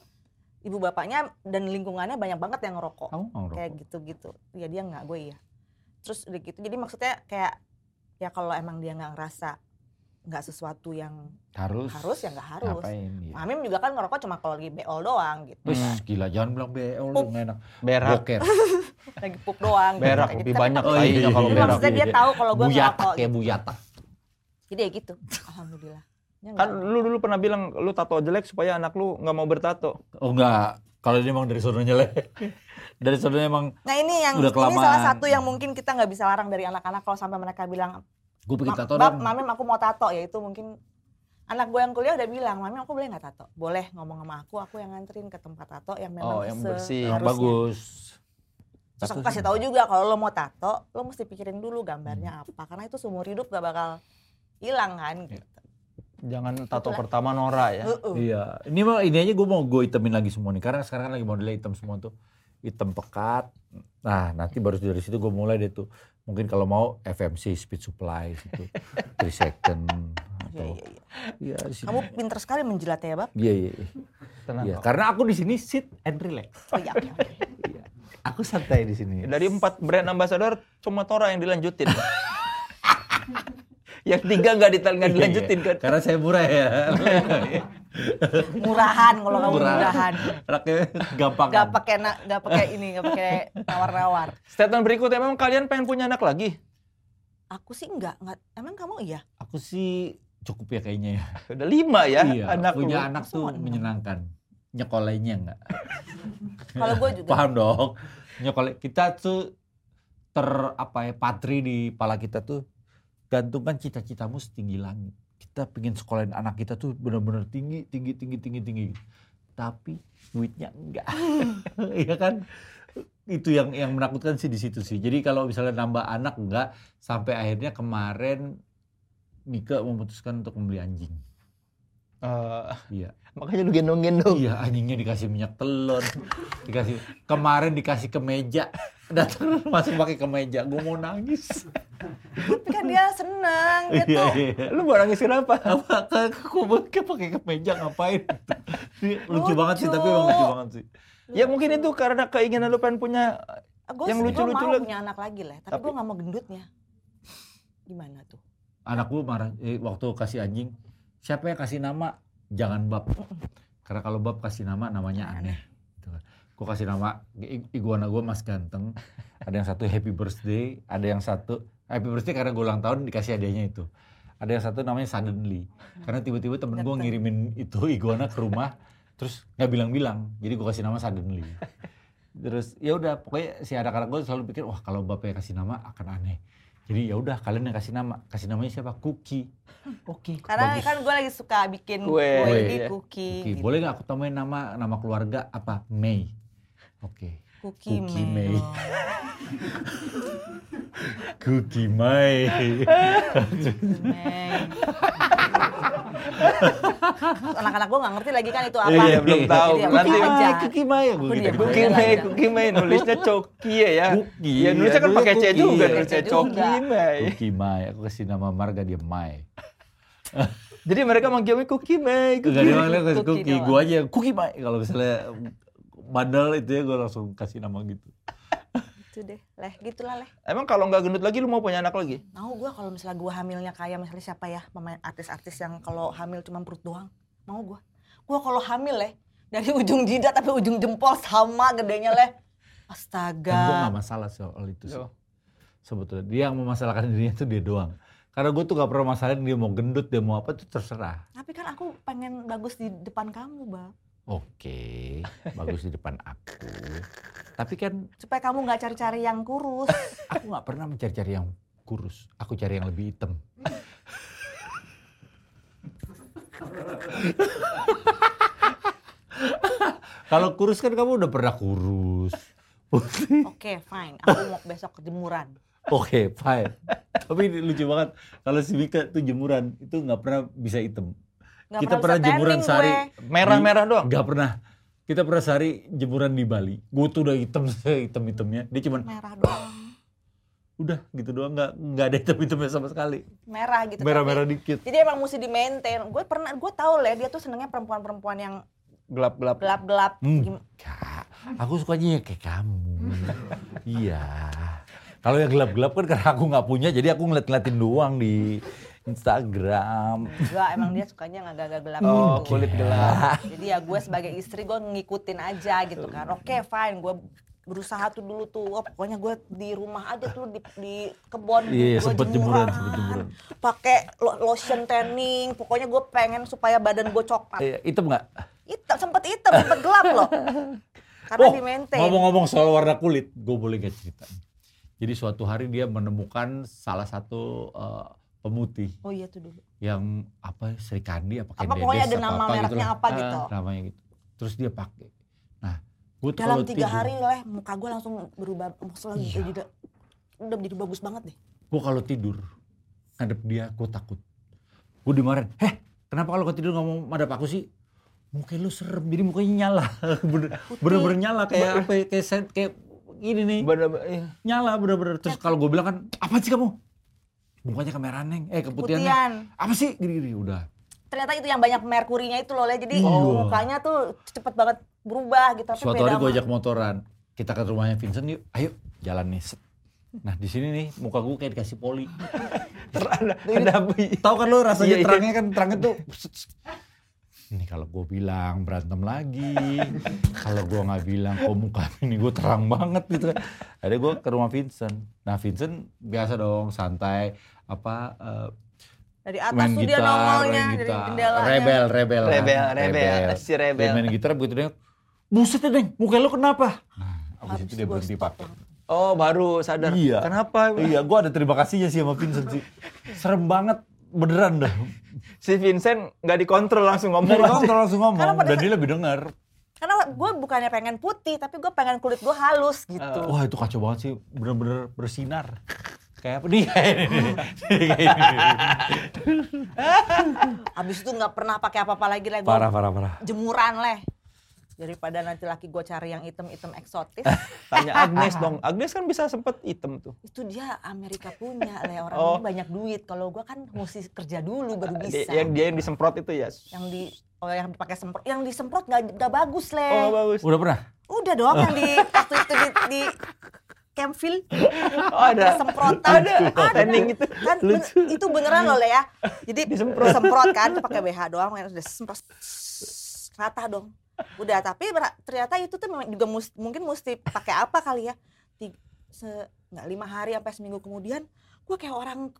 A: ibu bapaknya dan lingkungannya banyak banget yang ngerokok
B: Kamu mau
A: kayak
B: ngerokok?
A: gitu-gitu ya dia nggak gue iya terus udah gitu jadi maksudnya kayak ya kalau emang dia nggak ngerasa nggak sesuatu yang
B: Harus.
A: harus ya nggak harus
B: Ngapain gitu.
D: Iya.
A: Mamim juga kan ngerokok cuma kalau lagi beol doang gitu
B: Wih,
D: Hmm.
B: gila jangan bilang BL lu
A: Pup.
B: nggak enak.
D: Berak.
B: Boker.
A: lagi pup doang gitu.
D: Eh, Berak
A: Kayak
D: lebih
A: gitu. Tapi
D: banyak
B: Oh, iya,
D: kayaknya
B: iya,
A: Jadi
D: kalau
B: iya.
D: berak.
A: maksudnya dia tahu kalau gue
B: Buyatak
A: ngerokok
B: ya
A: gitu.
B: buyatak.
A: jadi ya gitu alhamdulillah Ya
D: Kan
A: nggak.
D: lu dulu pernah bilang lu tato jelek supaya anak lu nggak mau bertato.
B: Oh enggak, kalau dia emang dari sononya le. dari sononya emang
A: nah ini yang
B: Udah
A: ini salah
B: kelamaan.
A: satu yang mungkin kita nggak bisa larang dari anak-anak kalau sampai mereka bilang
B: gue bikin
A: "Ma-
B: tato
A: bab
B: dong.
A: mamim aku mau tato ya itu mungkin anak gue yang kuliah udah bilang mamim aku boleh nggak tato boleh ngomong sama aku aku yang nganterin ke tempat tato yang memang
D: Oh, yang bersih,
A: seharusnya."
B: Yang bagus.
A: Terus aku kasih tahu juga kalau lo mau tato, lo mesti pikirin dulu gambarnya apa karena itu seumur hidup gak bakal hilang kan gitu.
D: Jangan tato pertama Nora ya.
A: Heeh.
B: Iya, ini mah ini aja gue mau gue itemin lagi semua nih karena sekarang kan lagi modelnya hitam semua tuh hitam pekat. Nah nanti baru dari situ gue mulai deh tuh mungkin kalau mau FMC Speed Supply gitu, Three Second
A: Iya,
B: atau
A: iya, iya.
B: iya di sini.
A: Kamu pinter sekali menjilatnya ya, Bab.
B: Iya iya. iya.
D: Tenang.
B: Iya,
D: kok.
B: karena aku di sini sit and relax. Iya,
A: Oh iya. oke, oke.
B: Aku santai di sini.
D: Dari empat brand ambassador cuma Tora yang dilanjutin. yang tiga nggak ditel nggak dilanjutin kan.
B: iya, Karena saya murah ya.
A: Murahan kalau kamu murahan.
B: Anaknya gampang.
A: Gak pakai na- gak pakai ini, gak pakai nawar-nawar.
D: Statement berikutnya memang kalian pengen punya anak lagi.
A: Aku sih enggak, enggak. Emang kamu iya?
B: Aku sih cukup ya kayaknya ya.
D: Udah lima ya
B: iya,
D: anak
B: punya
D: lu.
B: anak tuh
A: Semua enam.
B: menyenangkan. Nyekolainya enggak?
A: Kalau gue juga
B: Paham dong. Nyekolai kita tuh ter apa ya patri di pala kita tuh gantungkan cita-citamu setinggi langit. Kita pengen sekolahin anak kita tuh bener-bener tinggi, tinggi, tinggi, tinggi, tinggi. Tapi duitnya enggak.
D: Hmm.
B: Iya kan? Itu yang yang menakutkan sih di situ sih. Jadi kalau misalnya nambah anak enggak sampai akhirnya kemarin Mika memutuskan untuk membeli anjing.
D: Eh,
B: Iya.
D: makanya lu gendong-gendong.
B: Iya anjingnya dikasih minyak telur, dikasih kemarin dikasih kemeja, datang masih pakai kemeja, gue mau nangis.
A: tapi kan dia seneng
B: Iya,
A: gitu.
D: Lu mau nangis kenapa?
B: Apa kok ke pakai kemeja ngapain? Ini lucu,
A: Lucu.
B: banget sih tapi emang lucu banget sih.
D: ya mungkin itu karena keinginan lu pengen punya
A: Gue
D: Yang
A: gue
D: lucu-lucu
A: mau
D: lagi.
A: punya anak lagi lah, tapi,
D: Tapi-
A: gue gak mau gendutnya. Gimana tuh?
B: Anak gue marah eh, waktu kasih anjing, siapa yang kasih nama? Jangan bab. Karena kalau bab kasih nama namanya aneh. Gue kasih nama i- iguana gue Mas Ganteng. Ada yang satu Happy Birthday, ada yang satu Happy Birthday karena gue ulang tahun dikasih hadiahnya itu. Ada yang satu namanya Suddenly. Karena tiba-tiba temen gue ngirimin itu iguana ke rumah, terus nggak bilang-bilang. Jadi gue kasih nama Suddenly. Terus ya udah pokoknya si anak-anak gue selalu pikir wah kalau bapak yang kasih nama akan aneh. Jadi ya udah kalian yang kasih nama, kasih namanya siapa? Cookie. Oke.
A: Karena
B: bagus.
A: kan gue lagi suka bikin
D: Kue,
A: kue, di
D: iya.
A: cookie,
B: Oke,
A: gitu.
B: boleh nggak aku tambahin nama nama keluarga apa? Mei. Oke.
A: Cookie,
B: Cookie
A: Mei. Oh.
B: Mei. Cookie Mei.
A: Cookie Mei. Anak-anak gue gak ngerti lagi kan itu apa.
D: Iya, belum tahu.
A: Jadi ya
D: Nanti-
A: udah aja.
B: Cookie Mei.
A: Aku
B: Cookie
A: diam.
B: Mei.
D: Cookie May,
A: Ada.
D: Cookie May nulisnya Cokie ya.
B: Cookie,
D: Ya nulisnya kan
B: aduh,
D: pakai C
B: Cookie.
D: juga
B: Pakai
D: nulisnya
A: C juga.
D: Cokie May.
B: Cookie Mei. Aku kasih nama marga dia Mei.
D: Jadi mereka manggilnya Cookie May,
B: Gak ada
D: Cookie.
B: yang kasih
A: Cookie
B: cookie.
A: doang.
B: Gue aja yang Cookie Mei. Kalau misalnya bandel itu ya gue langsung kasih nama gitu.
A: Itu deh, leh. Gitulah leh.
D: Emang kalau nggak gendut lagi lu mau punya anak lagi?
A: Mau gue kalau misalnya gue hamilnya kayak misalnya siapa ya pemain artis-artis yang kalau hamil cuma perut doang. Mau gue. Gue kalau hamil leh dari ujung jidat sampai ujung jempol sama gedenya leh.
B: Dan gue
A: Astaga.
B: gak Eh, masalah soal itu sih.
D: Loh.
B: Sebetulnya dia yang memasalahkan dirinya tuh dia doang. Karena gue tuh gak pernah masalahin dia mau gendut, dia mau apa tuh terserah.
A: Tapi kan aku pengen bagus di depan kamu, Bang.
B: Oke, bagus di depan aku. Tapi kan
A: Supaya kamu nggak cari-cari yang kurus.
B: aku gak pernah mencari-cari yang kurus. Aku cari yang lebih hitam. Kalau kurus kan kamu udah pernah kurus. Putih.
A: Oke, fine. Aku mau besok jemuran.
B: Oke, fine. Tapi ini lucu banget kalau si Mika tuh jemuran itu nggak pernah bisa hitam.
A: Nggak
B: Kita
A: bisa
B: pernah jemuran
A: tanning
B: sehari.
A: gue.
D: Merah-merah doang.
B: Nggak pernah. Kita pernah sehari jemuran di Bali. Gue tuh udah hitam hitam hitamnya. Dia cuman
A: Merah doang.
B: udah gitu doang nggak nggak ada hitam hitamnya sama sekali.
A: Merah gitu.
B: Merah merah
A: tapi-
B: dikit.
A: Jadi emang mesti di maintain. Gue pernah, gue tahu lah ya, dia tuh senengnya perempuan-perempuan yang
D: Gelap-gelap.
A: gelap-gelap.
B: Hmm.
A: Gim-
B: Enggak. Aku sukanya yang kayak kamu. iya. Kalau yang gelap-gelap kan karena aku nggak punya, jadi aku ngeliat-ngeliatin doang di Instagram.
A: Enggak, emang dia sukanya yang agak-agak gelap
D: Oh,
A: gitu.
D: kulit gelap.
A: Jadi ya gue sebagai istri gue ngikutin aja gitu kan. Oke fine, gue berusaha tuh dulu tuh. Wah, pokoknya gue di rumah aja tuh di, di kebun.
B: Iya,
A: gue
B: sempet jemuran, sempet jemuran.
A: Pakai lo- lotion tanning. Pokoknya gue pengen supaya badan gue coklat.
B: Eh, hitam nggak?
A: Hitam, sempet hitam, sempet gelap loh. Karena
B: Oh,
A: di maintain.
B: Ngomong-ngomong soal warna kulit, gue boleh gak cerita? Jadi suatu hari dia menemukan salah satu eh, pemutih
A: Oh iya tuh dulu.
B: yang apa Sri Kandi apa
A: Apa
B: Kendedes
A: pokoknya ada
B: atau
A: nama
B: apa
A: mereknya
B: lah.
A: apa gitu.
B: namanya gitu. Terus dia pakai. Nah, gue tuh
A: Dalam
B: kalau
A: tiga
B: tidur,
A: hari lah muka gue langsung berubah. Maksudnya
B: Iya.
A: jadi udah jadi bagus banget deh.
B: gue kalau tidur ngadep dia, gue takut. Gue dimarahin, heh kenapa kalau kau tidur ngomong madep aku sih? Mukanya lu serem, jadi mukanya nyala. Bener- Bener-bener nyala kayak apa ya, kayak sen- kayak ini nih.
D: Bener-bener. iya.
B: nyala bener-bener terus kalau gue bilang kan apa sih kamu mukanya kemerahan neng eh keputihan Neng.
A: Putihan.
B: apa sih gini-gini udah
A: ternyata itu yang banyak merkurinya itu loh Le. jadi
B: Oh.
A: mukanya tuh cepet banget berubah gitu tapi
B: suatu
A: beda
B: hari gue
A: sama-
B: ajak motoran kita ke rumahnya Vincent yuk ayo jalan nih Set. nah di sini nih muka gue kayak dikasih poli
D: Ter- Ada, ada
B: tahu kan lo
D: Iya,
B: rasanya
D: iya.
B: terangnya kan terangnya tuh set, set. ini kalau gue bilang berantem lagi kalau gue nggak bilang kok muka ini gue terang banget gitu kan ada gue ke rumah Vincent nah Vincent biasa dong santai apa eh,
A: dari atas
B: main
A: tuh
B: gitar,
A: dia nongolnya
B: main
A: dari ya.
B: gitar.
A: jendelanya
B: Rebel, rebel. kan?
D: Rebel, rebel. Si rebel.
B: Dia main gitar begitu dia, buset ya Deng, muka lu kenapa? Nah, abis
A: Harus
B: itu dia
A: gua
B: berhenti
A: stop ya.
B: pakai.
D: Oh baru sadar.
B: Iya.
D: Kenapa?
B: Iya, gua ada terima kasihnya sih sama Vincent sih. Serem banget, beneran dah.
D: Si Vincent nggak dikontrol langsung ngomong.
B: Nggak
D: aja.
B: dikontrol langsung
A: Karena
B: ngomong,
A: pada
B: dan
A: saat-
B: dia lebih denger.
A: karena gue bukannya pengen putih tapi gue pengen kulit gue halus gitu
B: Wah itu kacau banget sih, bener-bener bersinar. Kayak apa nih? Kayak ini. Kayak ini.
A: abis itu nggak pernah pakai apa-apa lagi lah gue
B: Parah, parah, parah.
A: jemuran leh daripada nanti laki gue cari yang item-item eksotis
D: Tanya Agnes dong. Agnes kan bisa sempet item tuh.
A: itu dia Amerika punya leh orang
D: Oh.
A: ini banyak duit kalau gue kan mesti kerja dulu baru
D: Dia-
A: bisa
D: yang dia yang disemprot itu ya.
A: yang di oh yang dipakai semprot yang disemprot nggak nggak bagus leh
D: Oh bagus.
B: Udah pernah?
A: Udah dong yang di waktu itu di, di Campfield
D: Oh ada.
A: semprotan
D: Ada. Tanning itu.
A: kan ben- itu beneran loh Le, ya jadi disemprot semprot kan pakai BH doang kan udah semprot rata dong udah tapi ber- ternyata itu tuh memang juga mus- mungkin mesti pakai apa kali ya Tiga, se nggak lima hari sampai seminggu kemudian gue kayak orang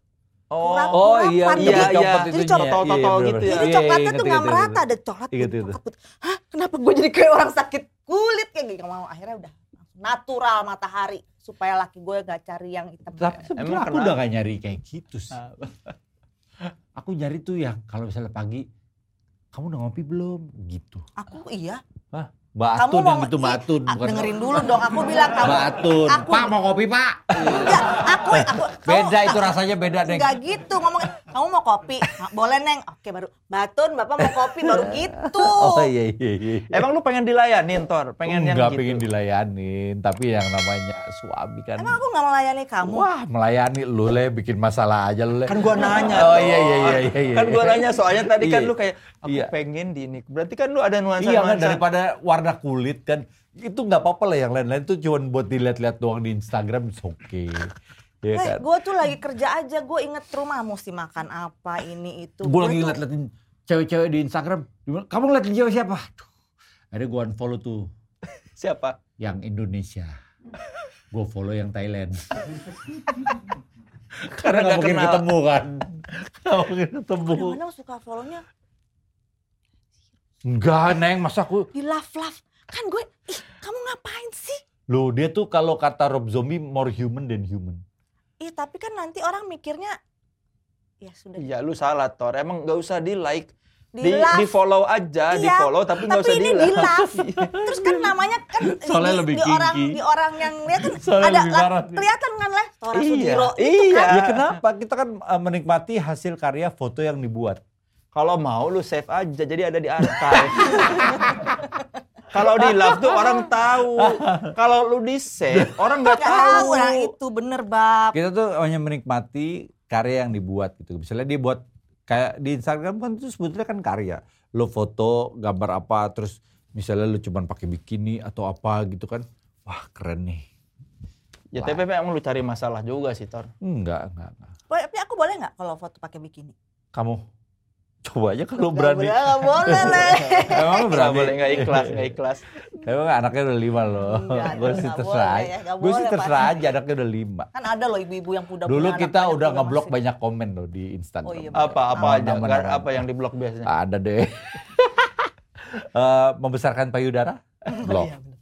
A: kurang
B: Oh iya,
A: kurapan
B: iya,
A: gitu.
B: iya.
A: jadi coklat
D: totol-totol gitu ya.
A: jadi coklatnya tuh nggak merata ada coklat
B: Ingat,
A: putih,
B: ingat.
A: coklat putih. Hah, kenapa gue jadi kayak orang sakit kulit kayak gitu Nggak mau akhirnya udah natural matahari supaya laki gue gak cari yang hitam.
B: Tapi sebetulnya
D: Emang
B: aku
D: kenapa?
B: udah gak nyari kayak gitu sih. Aku nyari tuh yang kalau misalnya pagi, kamu udah ngopi belum? Gitu.
A: aku iya.
B: Mbak
A: Kamu
B: Atun yang
A: mau-
B: gitu, Mbak
A: ih,
B: Atun.
A: ah,
B: Bukan
A: dengerin dulu dong. Aku bilang kamu.
B: Mbak Atun.
A: Aku-
B: Pak mau kopi pak?
A: Enggak, aku aku
B: Eh,
A: ah,
B: Beda itu rasanya beda Neng.
A: Enggak gitu ngomong kamu mau kopi? "Ah, Boleh, Neng. Oke, baru Batun, Bapak mau kopi baru gitu.
B: Oh iya iya iya.
D: Emang lu pengen dilayanin Tor? Pengen yang
B: Nggak
D: gitu.
B: pengen dilayanin, tapi yang namanya suami kan.
A: Emang aku gak melayani kamu?
B: Wah melayani lu le, bikin masalah aja lu le.
D: Kan gua nanya.
B: Oh
D: Tor.
B: iya iya iya iya. iya.
D: Kan gua nanya soalnya tadi kan
B: Iya.
D: lu kayak aku
B: Iya.
D: pengen di ini. Berarti kan lu ada nuansa
B: Iya kan
D: nuansa.
B: daripada warna kulit kan itu nggak apa-apa lah yang lain-lain tuh cuman buat dilihat-lihat doang di Instagram it's okay. Iya
A: Eh,
B: kan.
A: gue tuh lagi kerja aja, gue inget rumah "Ah, mesti makan apa ini itu.
B: Gue lagi
A: tuh-
B: ngeliat-liatin cewek-cewek di Instagram. Dia bilang, Kamu ngeliatin cewek siapa? Aduh. Akhirnya gue unfollow tuh
D: Siapa?
B: yang Indonesia. Gue follow yang Thailand. Karena nggak
C: nggak
B: mungkin
C: kenal.
B: ketemu kan.
C: Nggak mungkin ketemu.
A: Kadang-kadang suka follow-nya
B: Enggak, Neng. Masa aku
A: di love love. Kan gue, ih kamu ngapain sih?
B: Loh, dia tuh kalau kata Rob Zombie more human than human.
A: Ih tapi kan nanti orang mikirnya, ya sudah
D: Iya lu salah Tor, emang nggak usah di like,
A: di,
D: di,
A: love.
D: di follow aja,
A: Iya,
D: di follow tapi nggak
A: tapi
D: usah Iya.
A: ini
D: di
A: di
D: like.
A: love. Terus kan namanya kan
B: Soalnya
A: di,
B: lebih
A: di orang
B: kinky.
A: di orang yang dia kan
B: Soalnya
A: ada
B: lebih
A: lah,
B: parah sih.
A: kelihatan kan lah seorang
D: Iya,
A: Sudiro itu
D: iya.
A: kan.
B: Ya kenapa? Kita kan eh, menikmati hasil karya foto yang dibuat.
D: Kalau mau lu save aja, jadi ada di archive. Kalau di love tuh orang tahu, kalau lu di save orang nggak
A: Gak tahu
D: tahu.
A: orang itu bener bab.
B: Kita tuh hanya menikmati karya yang dibuat gitu. Misalnya dia buat kayak di Instagram kan itu sebetulnya kan karya. Lo foto gambar apa terus misalnya lo cuman pakai bikini atau apa gitu kan. Wah, keren nih.
D: Ya tapi emang lu cari masalah juga sih Tor.
B: Enggak, enggak, enggak.
A: Boleh- Tapi aku boleh nggak kalau foto pakai bikini?
B: Kamu coba aja kalau
A: Nggak
B: berani.
A: boleh, nggak boleh leh.
B: Emang lu
D: Nggak
B: berani.
D: boleh nggak ikhlas, nggak ikhlas.
B: Emang anaknya udah lima loh.
A: Enggak,
B: Gue sih
A: nggak
B: terserah.
A: boleh ya, nggak
B: Gue sih
A: boleh,
B: terserah
A: Pak.
B: aja anaknya udah lima.
A: Kan ada loh ibu-ibu yang udah
B: Dulu
A: punya anak
B: kita
A: banyak
B: udah
A: juga
B: ngeblok
A: masih-
B: banyak komen loh di Instagram.
A: Oh iya, bener.
D: Apa apa aja,
B: Aman,
D: nggak-
B: aman.
D: apa yang di blok biasanya.
B: Ada deh. Eh, membesarkan payudara? Blok.
A: Iya, bener.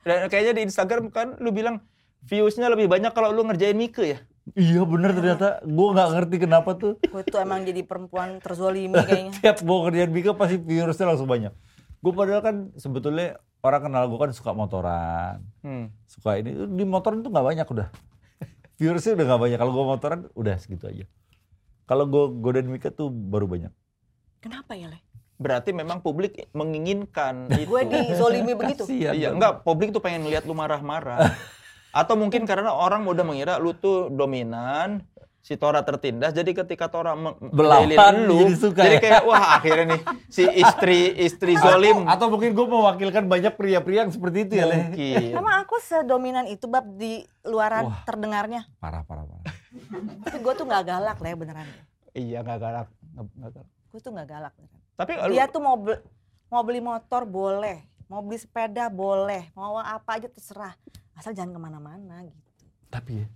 D: Dan kayaknya di Instagram kan lu bilang viewsnya lebih banyak kalau lu ngerjain Mika ya.
B: Iya bener ternyata. Gue nggak ngerti kenapa tuh.
A: Gue tuh emang jadi perempuan terzolimi kayaknya.
B: Tiap gue kerjaan Mika pasti virusnya langsung banyak. Gue padahal kan sebetulnya orang kenal gue kan suka motoran.
D: Hmm.
B: Suka ini. Di motoran tuh nggak banyak udah. Virusnya udah nggak banyak. Kalau gue motoran udah segitu aja. Kalau gue godain Mika tuh baru banyak.
A: Kenapa ya leh?
D: Berarti memang publik menginginkan itu.
A: Gue dizolimi begitu.
B: Kasihan.
D: Iya, enggak publik tuh pengen lihat lu marah-marah. Atau mungkin
A: Iya.
D: karena orang udah mengira lu tuh dominan, si Tora tertindas. Jadi ketika Tora meng-
B: Belawan,
D: menjahilin lu,
B: jadi suka ya?
D: kayak wah akhirnya nih si istri istri zolim
B: Hmm. Atau mungkin gue mewakilkan banyak pria-pria yang seperti itu ya, Leh.
D: mungkin.
A: Emang aku sedominan itu bab di luaran
B: Wah.
A: terdengarnya.
B: Parah, parah, parah.
A: Tapi gue tuh nggak galak leh beneran.
D: Iya nggak galak, nggak- nggak galak.
A: Gue tuh nggak galak beneran.
D: Tapi lu,
A: Dia tuh mau bel- mau beli motor boleh, mau beli sepeda boleh, mau apa aja terserah. Asal jangan kemana-mana gitu.
B: Tapi ya,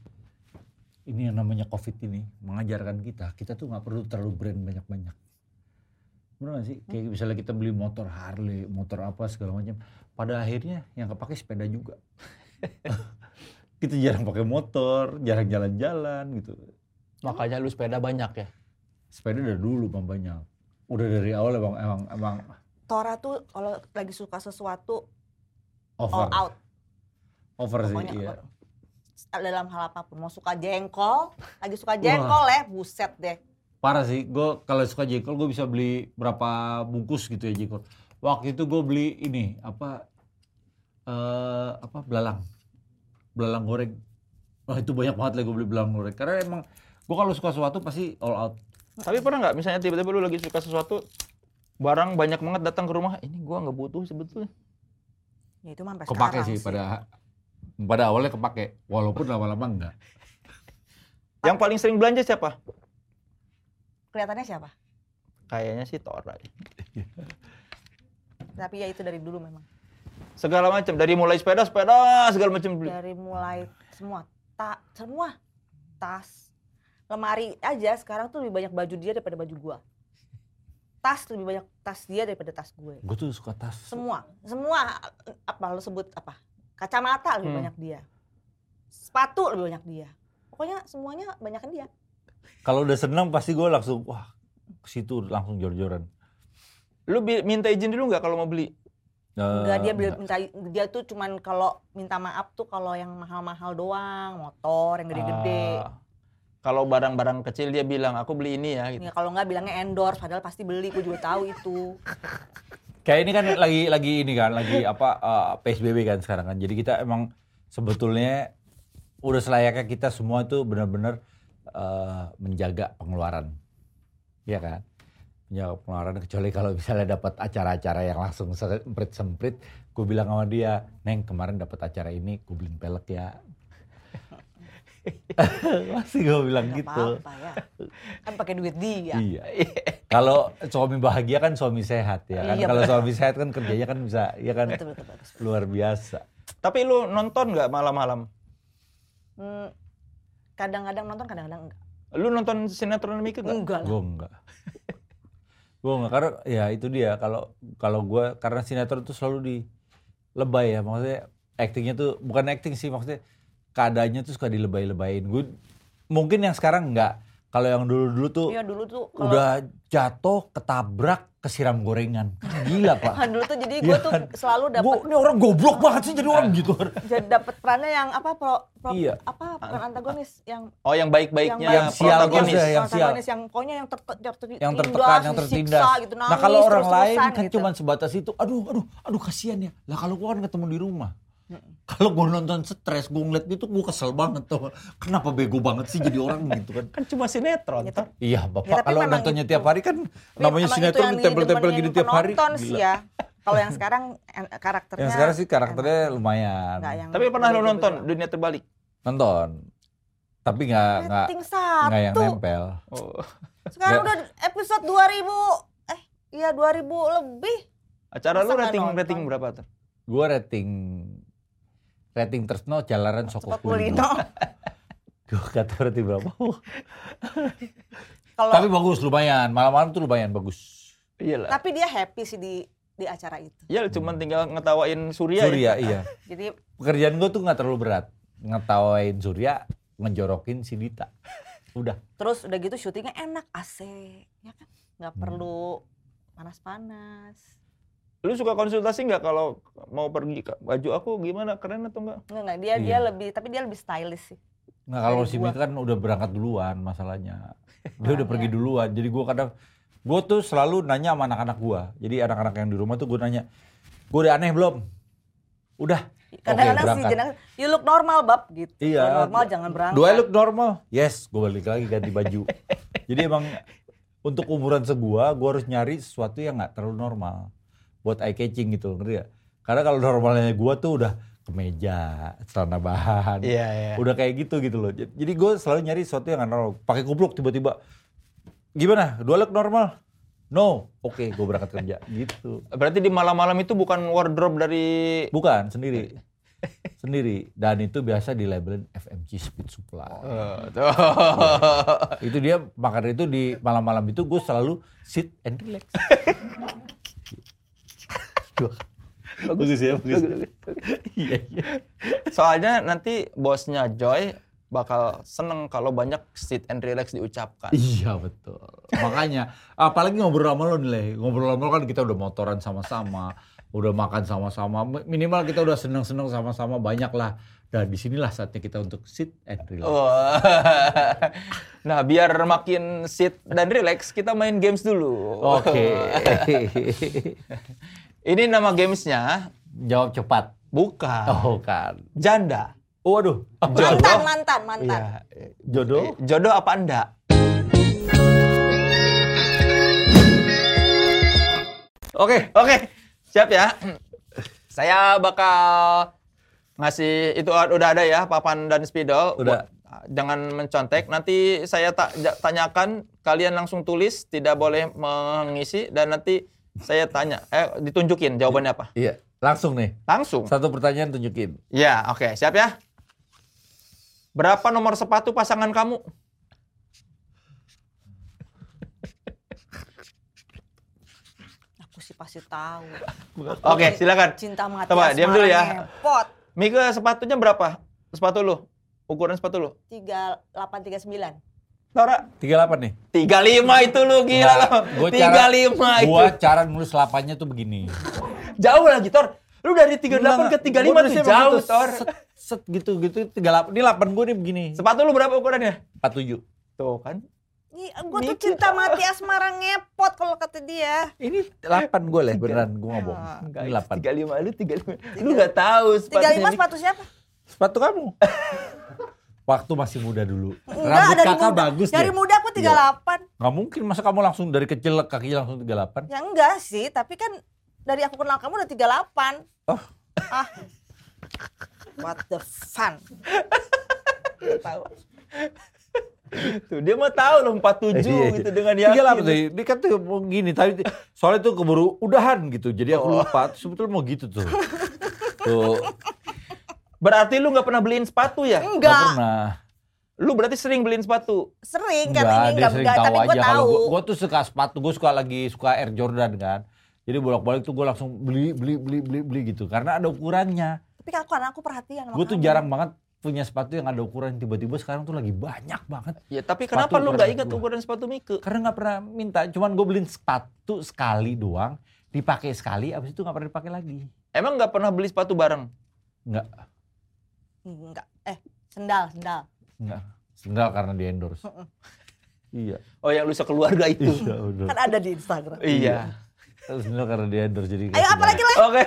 B: ini yang namanya COVID ini mengajarkan kita, kita tuh nggak perlu terlalu brand banyak-banyak. Benar nggak sih? Kayak misalnya kita beli motor Harley, motor apa segala macam. Pada akhirnya yang kepake sepeda juga. kita jarang pakai motor, jarang jalan-jalan gitu.
D: makanya lu sepeda banyak ya.
B: Sepeda dari dulu bang banyak. Udah dari awal emang emang emang
A: Tora tuh kalau lagi suka sesuatu
B: over,
A: all out
B: over sih.
A: pokoknya.
B: Iya.
A: Dalam hal apapun, mau suka jengkol, lagi suka jengkol leh, buset deh.
B: Parah sih, gue kalau suka jengkol gue bisa beli berapa bungkus gitu ya jengkol. Waktu itu gue beli ini apa eh apa belalang, belalang goreng. Wah itu banyak banget lah gue beli belalang goreng. Karena emang gue kalau suka sesuatu pasti all out.
D: Tapi pernah nggak misalnya tiba-tiba lu lagi suka sesuatu barang banyak banget datang ke rumah ini gua nggak butuh sebetulnya.
A: Ya itu mah sampai
B: Kepake
A: sekarang
B: sih pada pada awalnya kepake, walaupun lama-lama enggak.
D: Yang paling sering belanja siapa?
A: Kelihatannya siapa?
D: Kayaknya sih Tora.
A: Tapi ya itu dari dulu memang.
D: Segala macam dari mulai sepeda, sepeda segala macam beli.
A: dari mulai semua tak semua tas lemari aja sekarang tuh lebih banyak baju dia daripada baju gua tas lebih banyak tas dia daripada tas gue
B: Gue tuh suka tas.
A: semua semua eh, apa lo sebut apa kacamata lebih
D: Hmm.
A: banyak dia sepatu lebih banyak dia pokoknya semuanya banyakan dia
B: Kalau udah senang pasti gue langsung wah ke situ langsung jor-joran.
D: Lu bi- minta izin dulu nggak kalau mau beli?
A: enggak dia beli-
B: bilang
A: minta dia tuh cuman kalau minta maaf tuh kalau yang mahal-mahal doang motor yang gede-gede
D: Ah, kalau barang-barang kecil dia bilang aku beli ini ya gitu.
A: Ya, kalau nggak bilangnya endorse padahal pasti beli gue juga tahu itu
B: Kayak ini kan lagi lagi ini kan lagi apa uh, PSBB kan sekarang kan. Jadi kita emang sebetulnya udah selayaknya kita semua tuh benar-benar uh, menjaga pengeluaran. Iya kan? Menjaga pengeluaran kecuali kalau misalnya dapat acara-acara yang langsung semprit-semprit, gue bilang sama dia, "Neng, kemarin dapat acara ini, gue beliin pelek ya." Masih gue bilang
A: Nggak
B: gitu.
A: apa-apa ya. Kan pakai duit dia.
B: Iya. Kalau suami bahagia kan suami sehat ya kan.
A: Iya,
B: Kalau suami sehat kan kerjanya kan bisa ya kan
A: Betul, betul, betul.
B: luar biasa.
D: Tapi lu nonton nggak malam-malam?
A: Hmm, kadang-kadang nonton kadang-kadang enggak.
D: Lu nonton sinetron demi itu
A: Enggak lah.
B: Gue enggak. gue enggak karena ya itu dia kalau kalau gue karena sinetron itu selalu di lebay ya maksudnya actingnya tuh bukan acting sih maksudnya keadaannya tuh suka dilebay-lebayin. Gue mungkin yang sekarang enggak. Kalau yang dulu-dulu tuh
A: Iya dulu tuh kalau
B: udah jatuh, ketabrak, kesiram gorengan. Kan Gila, Pak.
A: dulu tuh jadi gue tuh selalu Iya, dapat Iya.
B: Gua, ini orang goblok banget sih jadi orang gitu.
A: jadi dapat perannya yang apa pro, pro-
B: Iya.
A: apa peran antagonis yang
D: Oh yang baik-baiknya
B: Yang
A: baik-
B: sial
D: protagonis.
B: gitu ya, yang sial.
A: protagonis, yang pokoknya yang ter, ter, ter-
B: yang
A: tindas,
B: tertekan, yang
A: disiksa
B: tertindas.
A: gitu,
B: nah kalau
A: nangis
B: orang lain
A: terus-terusan
B: kan
A: gitu.
B: cuman sebatas itu, aduh, aduh, aduh kasihan ya. Lah kalau gua kan ketemu di rumah. Kalau gua nonton stres, gua ngeliat itu gua kesel banget tuh. Kenapa bego banget sih jadi orang gitu kan?
D: Kan cuma sinetron.
A: Gitu.
D: Tor.
A: Ya,
B: Iya bapak,
A: tapi
B: kalau
A: memang
B: nontonnya
A: itu.
B: tiap hari kan
A: Tapi
B: namanya
A: emang itu yang
B: sinetron tempel-tempel
A: didemenin
B: gini tiap hari.
A: penonton sih
B: gila.
A: ya. Kalau yang sekarang en- karakternya
B: Yang sekarang sih karakternya lumayan.
A: Enggak yang
D: Tapi pernah lu
A: beda-beda.
D: nonton Dunia Terbalik?
B: Nonton. Tapi nggak nggak
A: Rating
B: nggak yang
A: satu.
B: nempel.
D: Oh,
A: Sekarang
B: Nggak-
A: udah episode 2000 eh iya 2000 lebih.
D: acara lu
A: Masa nggak
D: rating
A: nonton?
D: rating berapa tuh?
B: Gua rating rating Tresno Jalanan Sokokulino.
A: Sokokulino.
B: Gua kata rating berapa?
A: Kalau
B: Tapi bagus lumayan, malam-malam tuh lumayan bagus.
D: Iyalah.
A: tapi dia happy sih di di acara itu.
D: Ya cuma tinggal ngetawain Surya. ya.
B: Surya iya.
A: Jadi
B: Pekerjaan gue tuh nggak terlalu berat. Ngetawain Surya, ngejorokin si Dita. Udah.
A: terus udah gitu syutingnya enak AC, ya kan?
D: Hmm.
A: Nggak perlu panas-panas.
D: Lu suka konsultasi nggak kalau mau pergi Kak, baju aku gimana keren atau enggak?
A: Enggak, enggak. Dia dia
B: Iya.
A: lebih tapi dia lebih stylish sih.
B: Nah kalau
A: Dari
B: si
A: gua.
B: Mika kan udah berangkat duluan masalahnya. Dia udah
A: Makanya.
B: pergi duluan. Jadi gue kadang gue tuh selalu nanya sama anak-anak gue. Jadi anak-anak yang di rumah tuh gue nanya, gue udah aneh belum? Udah.
A: Kadang-kadang sih
B: berangkat.
A: jenang, you look normal bab gitu.
B: Iya.
A: Kalau normal jangan berangkat.
B: Do I look normal? Yes, gue balik lagi ganti baju. Jadi emang untuk umuran segua, gue harus nyari sesuatu yang nggak terlalu normal. Buat eye catching gitu, ngerti gak? Karena kalau normalnya gue tuh udah kemeja, celana bahan,
D: Iya, iya.
B: udah kayak gitu gitu loh. Jadi jadi gue selalu nyari sesuatu yang nggak normal. Pakai kupluk tiba-tiba, gimana? Do I look normal? No, oke, gue berangkat kerja gitu.
D: Berarti di malam-malam itu bukan wardrobe dari
B: Bukan sendiri, sendiri. Dan itu biasa di labelin FMG Speed Supply.
D: Eh, tuh.
B: itu dia makan itu di malam-malam itu gue selalu sit and relax. bagus ya, bagus. Iya, iya.
D: Soalnya nanti bosnya Joy bakal seneng kalau banyak sit and relax diucapkan.
B: Iya betul. Makanya apalagi ngobrol sama lo nih, Le. ngobrol sama lo kan kita udah motoran sama-sama, udah makan sama-sama, minimal kita udah seneng-seneng sama-sama banyak lah. Dan disinilah saatnya kita untuk sit and relax.
D: Wah. nah, biar makin sit dan relax, kita main games dulu.
B: Oke.
D: Ini nama gamesnya
B: Jawab cepat.
D: bukan
B: Oh kan.
D: janda.
B: Waduh.
A: mantan, mantan, mantan.
D: Iya.
B: Jodoh.
D: Jodoh apa anda? Oke, oke. Siap ya. Saya bakal ngasih itu udah ada ya papan dan spidol.
B: Udah.
D: Buat- Jangan mencontek. Nanti saya ta- ja- tanyakan, kalian langsung tulis, tidak boleh mengisi dan nanti saya tanya, eh ditunjukin jawabannya apa?
B: Iya. Langsung nih.
D: Langsung.
B: Satu pertanyaan tunjukin.
D: Ya, oke, siap ya. Berapa nomor sepatu pasangan kamu?
A: Aku sih pasti tahu.
D: Oke, silakan.
A: Cinta mati.
D: Coba, diam dulu ya.
A: Pot.
D: Mika sepatunya berapa? Sepatu lu? Ukuran sepatu lu?
A: 3839.
D: Tora?
B: 38 nih. Nah,
D: 35 itu lu gila Iya, lo. 35 itu.
B: Gua cara nulis lapanya tuh begini.
D: Jauh lagi Tor. Lu dari 38 ke 35 tuh jauh Tor.
B: Tor. Set, set gitu gitu 38. Ini 8 gua nih begini.
D: Sepatu lu berapa ukurannya?
B: 47.
D: Tuh kan.
A: Ih, Gue tuh
D: Mikir.
A: cinta mati asmara ngepot kalau kata dia.
B: Ini 8 gua leh beneran gua ngomong.
D: Enggak,
B: Ini
D: itu
B: 8.
D: 35 lu 35. Lu enggak tahu sepatunya.
A: 35 sepatu siapa?
B: Sepatu kamu. Waktu masih muda dulu.
A: Enggak,
B: Rambut
A: dari
B: kakak
A: muda.
B: bagus
A: dari
B: deh.
A: muda aku 38.
B: Nggak mungkin masa kamu langsung dari kecil kaki langsung 38.
A: Ya enggak sih, tapi kan dari aku kenal kamu udah 38.
B: Oh.
A: Ah. What the fun.
D: tahu. Tuh dia mah tahu loh
B: Iya,
D: 47
B: iya.
D: gitu dengan
B: Iya lah,
D: yakin.
B: betul. Dia kan tuh mau gini, tapi soalnya tuh keburu udahan gitu. Jadi aku lupa, sebetulnya mau gitu tuh. Tuh,
D: Berarti lu nggak pernah beliin sepatu ya?
B: nggak
A: Enggak.
B: pernah.
D: Lu berarti sering beliin sepatu.
A: Sering kan
B: Enggak,
A: ini
B: dia
A: enggak
B: sering
A: enggak,
B: tahu
A: tapi gue
B: aja kalau
A: tahu.
B: gua, gua tuh suka sepatu, gua suka lagi suka Air Jordan kan. Jadi bolak-balik tuh gua langsung beli beli beli beli beli gitu karena ada ukurannya.
A: Tapi kan aku karena aku perhatian sama
B: Gua tuh
A: kamu.
B: jarang banget punya sepatu yang ada ukuran tiba-tiba sekarang tuh lagi banyak banget.
D: Ya tapi
B: Sepatu
D: kenapa lu nggak
B: ukuran
D: ingat
B: gua.
D: ukuran sepatu Mika?
B: Karena nggak pernah minta, cuman gue beliin sepatu sekali doang, dipakai sekali, abis itu nggak pernah dipakai lagi.
D: Emang nggak pernah beli sepatu bareng?
B: Nggak,
A: Enggak. Eh, sendal, sendal.
B: nggak.
C: Hmm.
B: Sendal karena di endorse. iya.
D: Oh yang lu sekeluarga itu.
B: Iya udah.
A: Kan ada di Instagram.
D: iya.
B: Sendal karena di endorse jadi. nggak
A: Ayo
B: sendal.
A: apalagi lah.
D: Oke.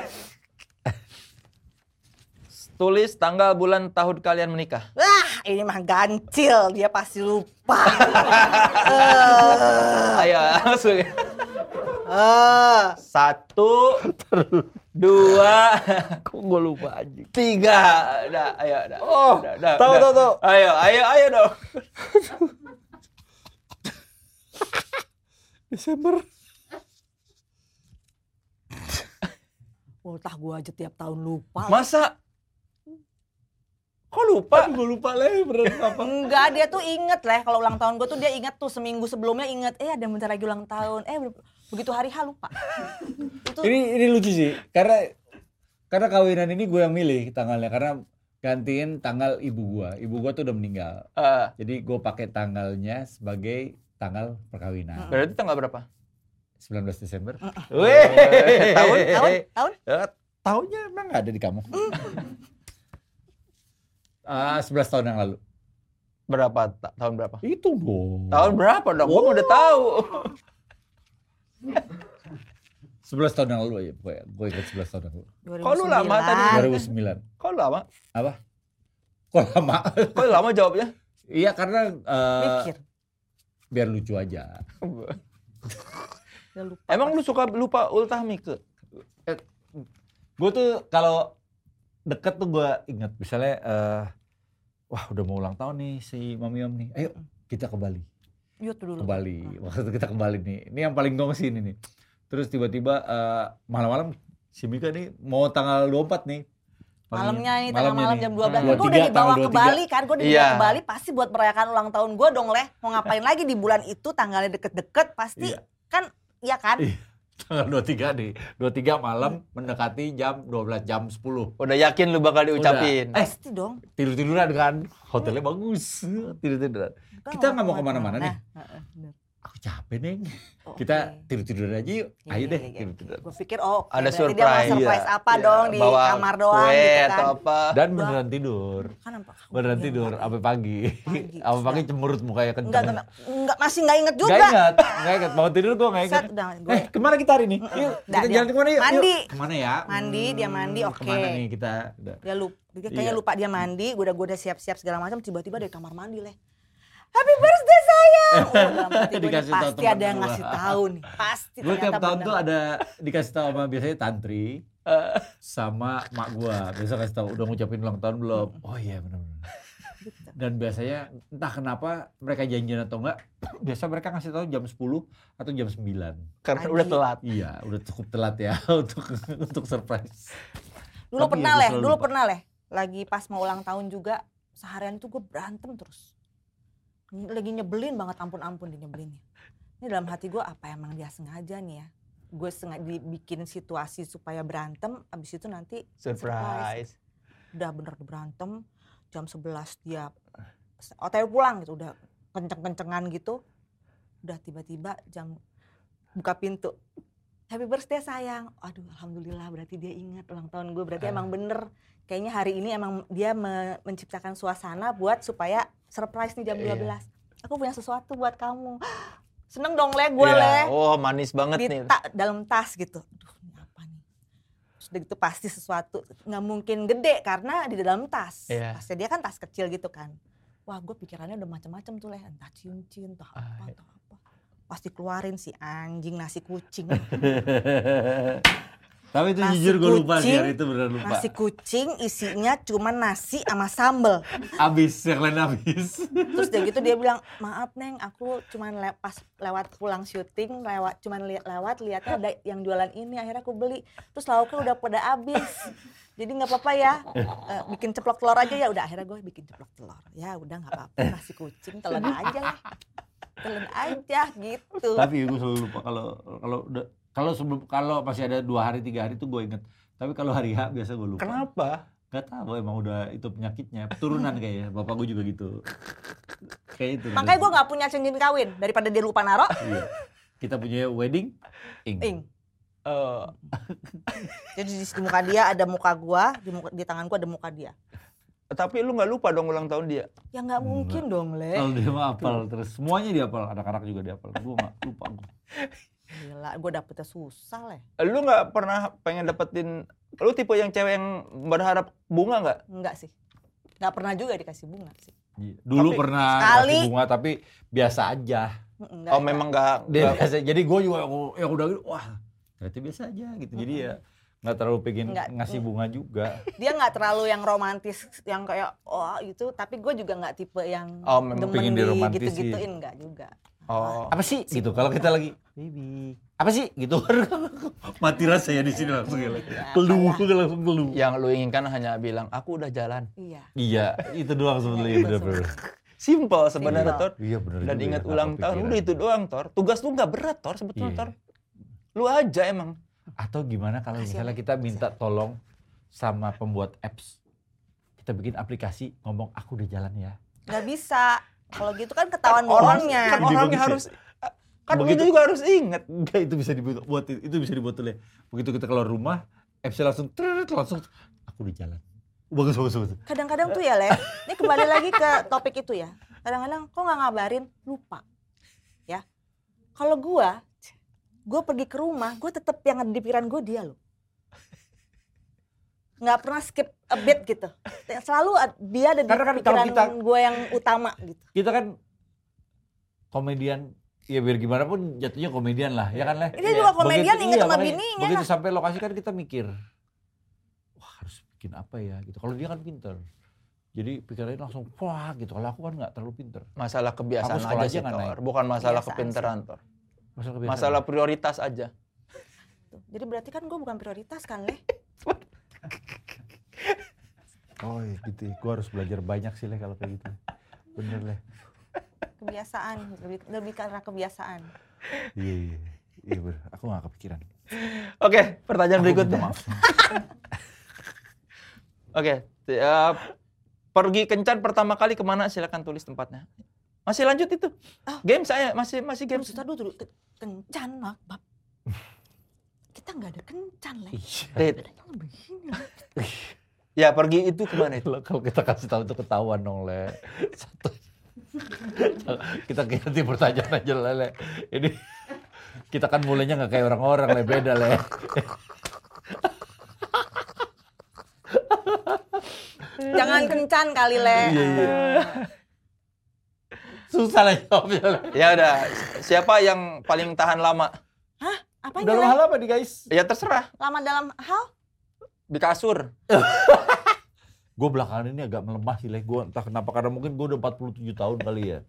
D: Tulis tanggal bulan tahun kalian menikah.
A: Wah, ini mah gancil, dia pasti lupa.
D: Ayo langsung.
A: Eh,
D: Satu, dua,
C: Kok gue lupa anjing?
D: tiga. Dah, ayo, dah.
C: Oh,
D: Dah, dah,
C: tahu,
D: dah.
C: tahu, tahu.
D: Ayo, ayo, ayo dong.
C: Desember.
A: Wah, gue aja tiap tahun lupa.
D: Masa? Kok lupa?
C: Gue lupa lagi beneran apa.
A: Enggak, dia tuh inget lah. Kalau ulang tahun gue tuh dia inget tuh seminggu sebelumnya inget. Eh ada bentar lagi ulang tahun. Eh be- begitu hari H lupa. Itu
C: Ini ini lucu sih karena karena kawinan ini gue yang milih tanggalnya karena gantiin tanggal ibu gue. Ibu gue tuh udah meninggal.
D: Eh,
C: Jadi gue pakai tanggalnya sebagai tanggal perkawinan.
D: berarti tanggal berapa?
C: 19 Desember.
D: Weh, tahun?
A: tahun tahun
C: Eh, tahunnya emang nggak ada di kamu. Ah, 11 tahun yang lalu.
D: Berapa? Ta- tahun berapa?
C: Itu dong.
D: Tahun berapa dong? Gua mau udah tahu.
C: 11 tahun yang lalu ya pokoknya. Gue ingat 11 tahun yang lalu.
D: Kok lu lama tadi?
C: 2009.
D: Kok lama?
C: Apa? Kok lama?
D: Kok lama jawabnya?
C: iya karena eh,
A: Mikir.
C: biar lucu aja.
A: Dia lupa.
D: Emang lu suka lupa ultah Mika?
B: Gue tuh kalau deket tuh gue inget, misalnya, eh, wah udah mau ulang tahun nih si mami om nih, ayo kita ke Bali.
A: Yut dulu.
C: Ke Bali.
A: Hmm.
C: Waktu itu kita ke Bali nih. Ini yang paling gong sih ini nih. Terus tiba-tiba eh, malam-malam si Mika nih mau tanggal 24 nih.
A: Malamnya ini tengah
B: Malamnya
A: malam
B: nih.
A: jam 12.
B: Hmm.
A: Gue udah dibawa
C: 23, tanggal
A: ke
C: 23.
A: Bali kan, gue dibawa
D: Iya.
A: ke Bali pasti buat merayakan ulang tahun gue dong leh. Mau ngapain lagi di bulan itu tanggalnya deket-deket pasti
B: Iya.
A: kan iya kan?
B: Iya. Tanggal 23 nih, 23 malam mendekati jam 12, jam 10.
D: Udah yakin lu bakal
B: Udah.
D: diucapin?
B: Eh,
A: Pasti dong.
B: tidur-tiduran kan, hotelnya bagus, tidur-tiduran.
A: Gua
B: Kita nggak mau kemana-mana nih.
A: Heeh, bener.
B: Aku capek
A: Nah,
B: neng,
A: eh, Oh,
B: kita
A: oke. Iya,
B: tidur-tiduran aja yuk, ayo deh gitu, tidur-tiduran.
A: Gue pikir oh
D: Ada
A: berarti
D: surprise.
A: dia mau surprise
D: Iya.
A: apa
D: Iya,
A: dong di
D: bawa
A: kamar doang
D: kue
A: gitu kan.
D: atau apa.
B: Dan beneran tidur.
A: kan nampak.
B: Beneran tidur, sampai pagi.
A: iya. Pagi,
B: Sampai pagi
A: sudah.
B: cemurut mukanya kenceng.
A: Enggak, enggak, enggak, masih enggak inget juga.
B: Gak ingat, gak ingat. Mau tidur gue gak ingat.
A: Set, udah, gua-
B: Eh, kemana kita hari ini? Yuk,
A: Dah,
B: kita
A: dia-
B: jalan kemana yuk?
A: Mandi.
B: Yuk. Kemana ya?
A: Mandi, dia mandi, oke.
B: Kemana nih kita? Udah.
A: Dia lupa, dia kayaknya
B: Iya.
A: lupa dia mandi, gue udah gue udah siap-siap segala macam, tiba-tiba dari kamar mandi leh. Happy birthday sayang. Oh, dalam hati gua nih,
B: Dikasih tahu
A: pasti
B: teman
A: ada yang
B: gua.
A: ngasih tahu nih. Pasti
B: Gue tiap
A: ternyata
B: tahun
A: bener.
B: tuh ada dikasih tahu sama biasanya tantri sama mak gua biasa kasih tahu udah ngucapin ulang tahun belum oh iya benar-benar dan biasanya entah kenapa mereka janjian atau enggak biasa mereka ngasih tahu jam 10 atau jam 9
D: Karena
A: Anjing.
D: Kan udah telat.
B: iya udah cukup telat ya untuk untuk surprise
A: Dulu
B: Tapi ya,
A: pernah
B: gua
A: leh,
B: selalu
A: dulu
B: lupa.
A: pernah leh. Lagi pas mau ulang tahun juga, seharian tuh gue berantem terus. Lagi nyebelin banget, ampun-ampun di nyebelinnya. Ini dalam hati gue apa emang dia sengaja nih ya? Gue sengaja dibikin situasi supaya berantem, abis itu nanti
D: Surprise.
A: udah bener berantem jam 11 dia hotel pulang gitu udah kenceng-kencengan gitu udah tiba-tiba jam buka pintu happy birthday sayang aduh alhamdulillah berarti dia ingat ulang tahun gue
D: Ah.
A: berarti emang bener kayaknya hari ini emang dia me- menciptakan suasana buat supaya surprise nih jam 12
D: Iya.
A: aku punya sesuatu buat kamu seneng dong le gue
D: Iya.
A: le
D: Oh manis banget
A: di
D: nih.
A: ta- dalam tas gitu. Aduh, ini apa nih? Terus udah gitu pasti sesuatu nggak mungkin gede karena di dalam tas.
D: Iya.
A: Tasnya dia kan tas kecil gitu kan. Wah, gue pikirannya udah macam-macam tuh leh, entah cincin, entah apa,
D: Ah,
A: entah apa. Pasti keluarin si anjing nasi kucing.
B: tapi itu
A: Nasi
B: jujur gue lupa sih
A: kucing,
B: hari itu benar lupa
A: nasi kucing isinya cuma nasi sama sambel.
B: abis yang lain abis
A: Terus udah gitu dia bilang, "Maaf, Neng, aku cuman le- pas lewat pulang syuting, lewat cuman lihat lewat lihatnya ada yang jualan ini, akhirnya aku beli. Terus lauknya udah pada habis." Jadi nggak apa-apa ya, Eh, bikin ceplok telur aja ya. Udah akhirnya gue bikin ceplok telur. Ya udah nggak apa-apa, nasi kucing telan aja ya. Telan aja gitu.
C: Tapi gue selalu lupa kalau kalau udah- kalau sebelum kalau masih ada dua hari tiga hari tuh gue inget. Tapi kalau hari H biasa gue lupa.
D: Kenapa?
C: Gak tahu emang udah itu penyakitnya turunan kayaknya. Bapak gue juga gitu. Kayak itu.
A: Makanya gue nggak punya cincin kawin daripada dia lupa naro.
C: Iya. Kita punya wedding ing.
A: Ing.
D: Eh,
A: Jadi di di muka dia ada muka gue, di, muka- di tangan gue ada muka dia.
D: tapi lu nggak lupa dong ulang tahun dia.
A: Ya nggak mungkin dong le.
B: Oh. Eh,
C: Kalau dia
B: gitu.
C: mah apel terus semuanya dia apel, anak-anak juga dia apel. Gue nggak lupa gue.
A: Gila, gue dapetnya susah le.
D: Lu nggak pernah pengen dapetin lu tipe yang cewek yang berharap bunga nggak?
A: Enggak sih. Nggak pernah juga dikasih bunga sih.
B: Iya. Dulu
D: Tapi
B: pernah
A: sekali.
B: kasih bunga tapi biasa aja.
A: Mm-mm, nggak-
D: Oh memang nggak.
B: Dia
D: nggak-
B: biasa. Jadi gue juga yang udah gitu, wah ternyata biasa aja gitu. Jadi ya nggak terlalu pengen
A: Nggak.
B: ngasih bunga juga.
A: dia nggak terlalu yang romantis yang kayak oh itu tapi gue juga nggak tipe yang
D: Oh, memang
B: pengen diromantisin.
A: gitu-gituin nggak juga
D: Oh.
B: Apa sih gitu kalau kita lagi baby. Apa sih gitu.
C: Mati rasa ya di sini langsung ya.
A: Ya,
C: Keluh,
A: apalah.
C: gue langsung keluh.
D: Yang lu inginkan hanya bilang aku udah jalan.
A: iya
B: iya, itu doang sebenarnya
A: Iya,
B: bener
A: itu
B: bener.
D: Simple sebenarnya
A: Simple.
D: Tor.
B: Iya bener.
D: Dan
B: juga ya,
D: ingat
B: nggak
D: ulang tahun
B: kepikiran.
D: udah itu doang Tor. Tugas lu nggak berat Tor sebetulnya
B: Iya.
D: Tor. Lu aja emang.
B: Atau gimana kalau
A: Makasih,
B: misalnya kita minta tolong sama pembuat apps. Kita bikin aplikasi ngomong aku udah jalan ya.
A: nggak bisa kalau gitu kan ketahuan gitu.
D: orangnya
A: bohongnya
D: kan
C: Ide
D: orangnya
C: bagus ya.
D: harus kan
C: Begitu-
D: begitu juga harus inget
C: Enggak itu bisa dibuat buat itu bisa dibuat oleh begitu kita keluar rumah FC langsung trrrt, langsung aku di jalan. Bagus bagus bagus.
A: kadang-kadang tuh ya le ini kembali lagi ke topik itu ya kadang-kadang kok nggak ngabarin lupa ya kalau gue gue pergi ke rumah gue tetap yang ada di pikiran gue dia loh nggak pernah skip a bit gitu selalu ad- dia ada di
B: Karena kan kalau
A: pikiran
B: kita-
A: gue yang utama gitu
B: Kita kan komedian ya biar gimana pun jatuhnya komedian lah ya kan leh
A: Ini juga komedian
B: Begitu-
A: inget
B: iya,
A: sama
B: makanya
A: bininya
B: Begitu
A: lah.
B: sampai lokasi kan kita mikir, wah harus bikin apa ya gitu. Kalau dia kan pinter, jadi pikirannya langsung wah gitu. Kalau aku kan nggak terlalu pinter.
D: masalah
B: Aku
D: kebiasaan aja
B: sekolah
D: sih
B: aja nggak
D: Tor bukan masalah
A: Kebiasaan
D: kepinteran Tor
B: Masalah kebiasaan.
D: masalah prioritas aja
A: Tuh, Jadi berarti kan gue bukan prioritas kan, Le?
B: Oh iya, gitu. Ya. Gue harus belajar banyak sih leh kalau kayak gitu. Bener leh.
A: Kebiasaan, lebih, lebih karena kebiasaan.
B: Iya iya. Iya bener. Aku nggak kepikiran.
D: oke pertanyaan
B: Aku
D: berikutnya
B: minta maaf.
D: oke tiap pergi kencan pertama kali kemana silakan tulis tempatnya masih lanjut itu game saya masih masih game
A: Maksudnya Ah. Oh, dulu dulu ke- kencan, Mak, Bab. Kita nggak ada kencan, Le.
B: Iya.
D: Rit,
A: Yang Begini. Le.
D: ya pergi itu kemana itu
B: Kalau- Kalau kita kasih tahu itu ketahuan dong leh. Satu. kita ganti pertanyaan aja lah leh. Ini kita kan mulainya nggak kayak orang-orang leh beda leh.
A: Jangan kencan kali, Le.
B: Iya,
D: Iya,
B: Susah lah jawabnya leh.
D: ya udah siapa yang paling tahan lama
A: Hah? Apanya,
B: Udah
A: Le?
B: lama apa nih guys?
D: ya terserah
A: Lama dalam hal?
D: di kasur
B: Gue belakangan ini agak melemah sih, Leh. Gue entah kenapa, karena mungkin gue udah 47 tahun kali ya.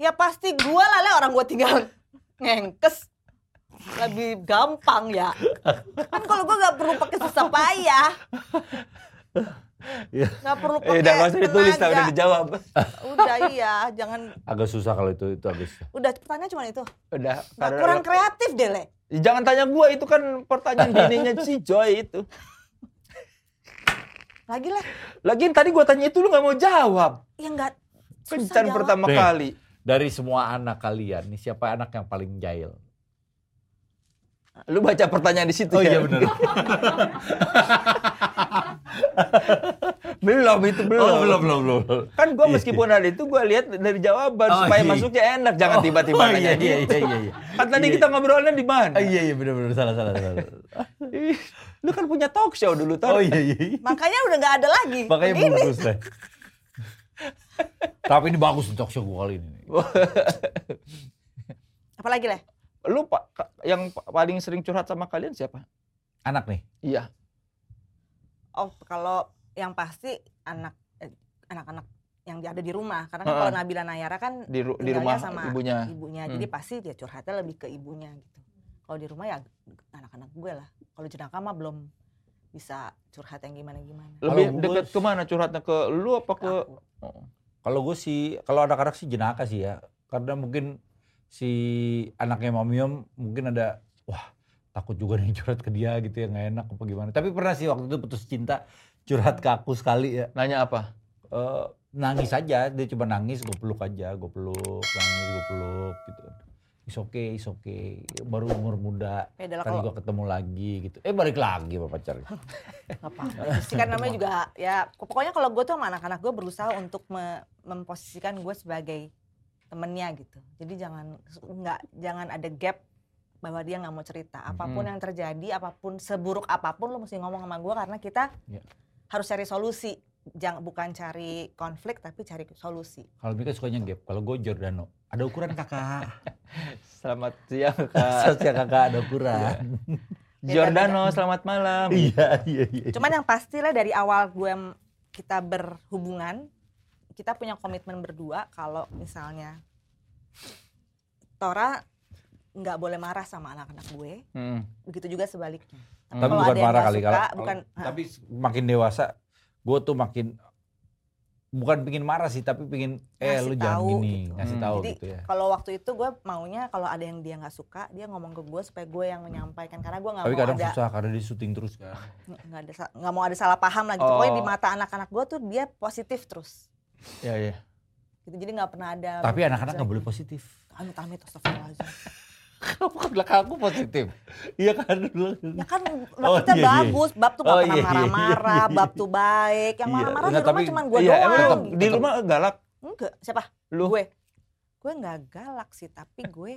A: Ya pasti gue lah, Le. Orang gue tinggal ngengkes. Lebih gampang ya. Kan kalau gue nggak perlu pakai susah payah.
B: Iya.
A: Nggak perlu pakai
D: eh udah nggak usah ditulis
A: tenaga.
D: tapi udah dijawab
A: Udah iya, jangan.
B: Agak susah kalau itu, itu agak susah.
A: Udah pertanyaan cuma itu.
D: udah
A: Nggak kurang kreatif deh, Le.
D: Jangan tanya gua itu kan pertanyaan bininya si Joy itu.
A: Lagi lah,
D: Lagian tadi gua tanya itu lu nggak mau jawab.
A: yang nggak susah
D: Kencan
A: jawab.
D: pertama
B: Deh.
D: kali.
B: Dari semua anak kalian, nih siapa anak yang paling jahil?
D: Lu baca pertanyaan di situ ya?
B: Oh, iya, bener.
D: Belum itu belum.
B: Oh, belum, belum, belum.
D: Kan gua meskipun ada itu gua lihat dari jawaban
B: Oh,
D: supaya
B: iya.
D: masuknya enak, jangan
B: Oh,
D: tiba-tiba
B: oh,
D: nanya
B: iya,
D: gitu.
B: iya, iya, iya, iya.
D: Kan tadi kita ngobrolnya di mana?
B: Oh, iya, iya, bener, bener. Salah, salah, salah.
D: Ih, Lu kan punya talk show dulu
B: Oh,
D: Tor.
B: iya, iya. iya.
A: Makanya udah nggak ada lagi.
B: Makanya
A: Begini.
B: bungkus, Leh. Tapi ini bagus nih talk show gue kali ini.
A: Apalagi lah.
D: Lu pa- ka- yang pa- paling sering curhat sama kalian siapa?
B: Anak nih.
D: Iya.
A: Oh, kalau yang pasti anak eh, anak-anak yang ada di rumah. Karena kan
D: Heeh. Nah.
A: kalau Nabila Nayara kan
D: Di, ru- di
A: Tinggalnya
D: rumah
A: sama
D: ibunya.
A: ibunya, jadi pasti dia curhatnya lebih ke ibunya gitu. Kalau di rumah ya anak-anak gue lah. Kalau jenaka mah belum bisa curhat yang gimana-gimana.
D: Lebih
B: Kalau gue-
D: dekat kemana curhatnya ke lu apa
A: Ke
D: ke?
A: aku.
D: Oh.
B: Kalau gue sih, kalau anak-anak sih jenaka sih ya. Karena mungkin si anaknya Mami Om mungkin ada, wah takut juga nih curhat ke dia gitu ya, nggak enak apa gimana. Tapi pernah sih waktu itu putus cinta, curhat ke aku sekali ya.
D: Nanya apa?
B: Eh, nangis aja, dia cuma nangis, gue peluk aja, gue peluk, nangis, gue peluk gitu. Is okay, is okay. Baru umur muda,
A: Beda lah
B: kan
A: kalau
B: gue ketemu lagi gitu. Eh balik lagi sama pacarnya.
A: apa-apa. Sih kan namanya juga ya pokoknya kalau gue tuh sama anak-anak gue berusaha untuk me- memposisikan gue sebagai temennya gitu. Jadi jangan nggak jangan ada gap bahwa dia nggak mau cerita. Apapun
D: Mhm.
A: yang terjadi, apapun seburuk apapun lo mesti ngomong sama gue karena kita
B: Iya.
A: harus cari solusi. Jangan bukan cari konflik tapi cari solusi.
B: Kalau Mika sukanya gap, kalau gue Giordano. Ada ukuran kakak,
D: Selamat siang Kak.
B: sosial kakak ada ukuran.
D: Giordano, selamat malam.
B: Iya, iya, iya.
A: Cuman yang pastilah dari awal gue m- kita berhubungan, kita punya komitmen berdua kalau misalnya Tora nggak boleh marah sama anak-anak gue,
D: Hmm.
A: begitu juga sebaliknya. Hmm. kalau
D: Tapi
B: Hmm. bukan
A: ada yang
B: marah
A: nggak
B: kali,
A: suka,
B: kalau-
A: bukan nah,
B: Kalau- tapi s- makin dewasa gue tuh makin bukan pingin marah sih tapi pingin eh
A: Ngasih
B: lu jangan
A: tahu
B: gini
A: gitu.
B: ngasih
D: Hmm.
B: tahu
A: Jadi,
B: gitu ya
A: kalau waktu itu gue maunya kalau ada yang dia nggak suka, dia ngomong ke gue supaya gue yang menyampaikan karena gue nggak
B: tapi
A: mau
B: kadang
A: ada
B: susah karena di syuting terus kan
A: nggak ada sa- nggak mau ada salah paham lagi. gitu. Pokoknya di
D: Oh.
A: mata anak-anak gue tuh dia positif terus.
D: Iya, iya.
A: Gitu. Jadi nggak pernah ada.
B: tapi anak-anak nggak boleh positif
A: Amit-amit, astagfirullahaladzim.
B: kamu kan belakang aku positif iya kan dulu
A: Ya kan bab
B: Oh,
A: kita
B: iya, iya.
A: bagus, bab tuh gak
B: Oh,
A: pernah
B: iya, iya,
A: marah-marah,
B: iya, iya.
A: bab tuh baik. Yang
B: Iya,
A: marah-marah
B: enggak,
A: di rumah
B: tapi-
A: cuman gue
D: Iya, emang
A: doang.
D: tetap-
A: gitu.
D: di rumah galak
A: Enggak, siapa?
D: lu.
A: Gue. Gue gak galak sih, tapi gue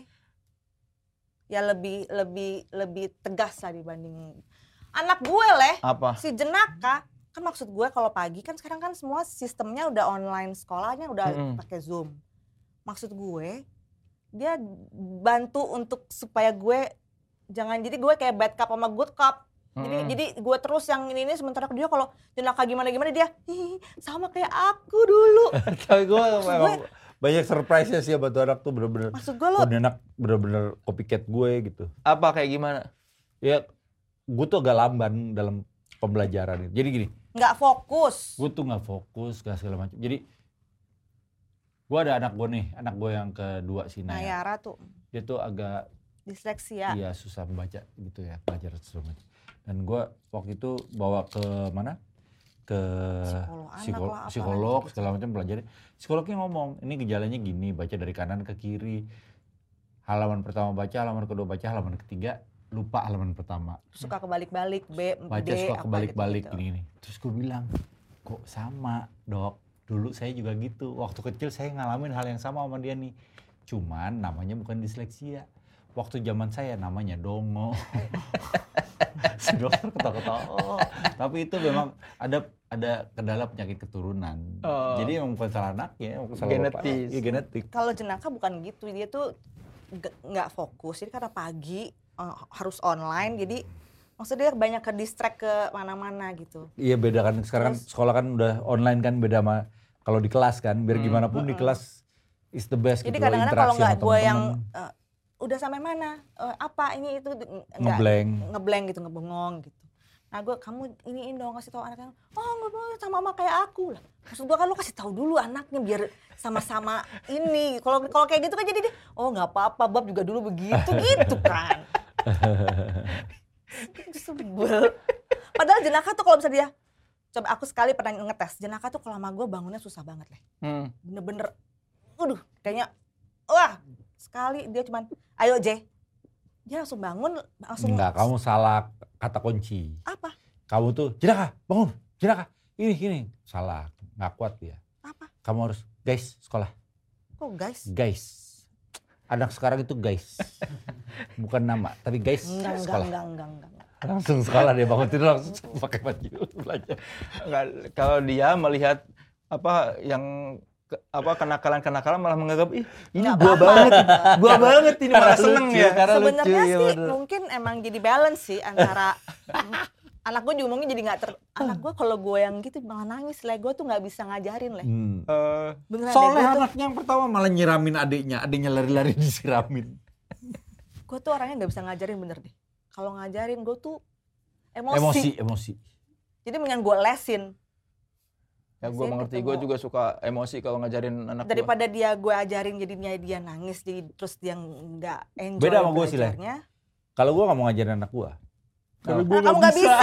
A: ya lebih lebih lebih tegas lah dibanding anak gue leh
D: Apa?
A: si jenaka kan maksud gue kalau pagi kan sekarang kan semua sistemnya udah online sekolahnya udah
D: Mm-mm.
A: pakai zoom maksud gue dia bantu untuk supaya gue jangan jadi gue kayak bad cup sama good cup jadi,
D: Mm-mm.
A: jadi gue terus yang ini ini sementara dia kalau jenaka gimana gimana dia "Ih, sama kayak aku dulu.
B: tapi gue
A: Maksud
B: memang banyak surprise nya sih sama tuh anak tuh bener-bener
A: Maksud gue lo
B: udah anak bener-bener copycat gue gitu
D: apa kayak gimana?
B: ya gue tuh agak lamban dalam pembelajaran itu jadi gini
A: nggak fokus.
B: gue tuh nggak fokus gak segala macam jadi gue ada anak gue nih anak gue yang kedua si
A: Nah
B: Naya
A: Yara tuh ya.
B: dia tuh agak
A: disleksia.
B: iya susah membaca gitu ya pelajaran segala macam dan gue waktu itu bawa ke mana ke
A: Psikolog anak lah, gitu.
B: psiko-
A: apa
B: psikolog
A: lagi.
B: segala macam pelajarin psikolognya ngomong ini gejalanya gini baca dari kanan ke kiri halaman pertama baca halaman kedua baca halaman ketiga lupa halaman pertama
A: Suka kebalik-balik B,
B: baca
A: D, apa
B: suka kebalik-balik
A: gitu-gitu.
B: gini nih. Terus gue bilang, kok sama dok? Dulu saya juga gitu. Waktu kecil saya ngalamin hal yang sama sama dia nih. Cuman namanya bukan disleksia. Waktu zaman saya namanya dongo. si dokter ketawa-ketawa. "Oh." Tapi itu memang ada ada kendala penyakit keturunan.
D: Oh.
B: Jadi emang bukan salah anaknya, emang salah
D: Genetis.
B: bapaknya. Iya, genetik.
A: Kalau jenaka bukan gitu, dia tuh nggak- nggak fokus. Jadi karena pagi eh, harus online, jadi maksudnya dia banyak ke distract ke mana-mana gitu.
B: Iya beda kan sekarang
A: Terus-
B: sekolah kan udah online kan beda sama kalau di kelas kan biar
D: Hmm,
B: gimana pun di
A: mm-mm.
B: kelas is the best
A: Jadi
B: gitu loh,
A: kadang-kadang kalau
B: interaksi
A: nggak
B: sama
A: gue yang
B: temen-temen,
A: eh, udah sampai mana, Eh, apa ini itu nggak
B: ngeblank
A: ngeblank gitu, ngebengong gitu. Nah gue, kamu iniin dong kasih tahu anaknya, oh nggak boleh sama mama kayak aku lah. Maksud gue kan lo kasih tahu dulu anaknya biar sama-sama ini. Kalau kalau kayak gitu kan jadi dia, oh nggak apa-apa, bab juga dulu begitu gitu kan. Sebel. Padahal jenaka tuh kalau misalnya dia, coba aku sekali pernah ngetes, jenaka tuh kalau sama gue bangunnya susah banget lah.
D: Hmm.
A: Bener-bener, aduh kayaknya, wah sekali dia cuman, ayo J. Dia langsung bangun, langsung
B: enggak kamu salah kata kunci
A: apa
B: kamu tuh jenaka bangun jenaka ini ini salah nggak kuat dia
A: apa
B: kamu harus guys sekolah
A: kok guys
B: guys anak sekarang itu guys bukan nama tapi guys
A: enggak enggak
B: sekolah
A: enggak Nah, enggak enggak enggak.
B: langsung sekolah dia bangun tidur langsung pakai baju belajar
D: Nggak, kalau dia melihat apa yang ke- apa kenakalan-kenakalan malah menganggap ih ini
A: Nggak
D: gua
A: apa-apa.
D: banget, gua banget ini malah seneng
B: Lucu,
D: ya.
B: karena lucu,
A: sebenarnya
B: iya
A: sih
B: bener.
A: mungkin emang jadi balance sih antara anak gue juga mungkin jadi nggak ter anak gue kalau gue yang gitu malah nangis lah gue tuh nggak bisa ngajarin lah
B: Hmm.
D: Eh,
A: beneran deh,
B: Soleh
A: gue tuh
B: anaknya yang pertama malah nyiramin adiknya, adiknya lari-lari disiramin.
A: gue tuh orangnya nggak bisa ngajarin bener deh kalau ngajarin gue tuh emosi.
B: Emosi, emosi.
A: Jadi mendingan gue lesin
D: Ya gue
A: Biasanya
D: mengerti,
A: ketemu.
D: gue juga suka emosi kalau ngajarin anak gue.
A: daripada dia gue ajarin jadinya dia nangis jadi terus dia nggak enjoy
B: Beda sama gua sih, Le.
A: belajarnya.
B: Kalau gua nggak mau ngajarin anak gua.
D: Tapi
A: Ah, kamu nggak bisa.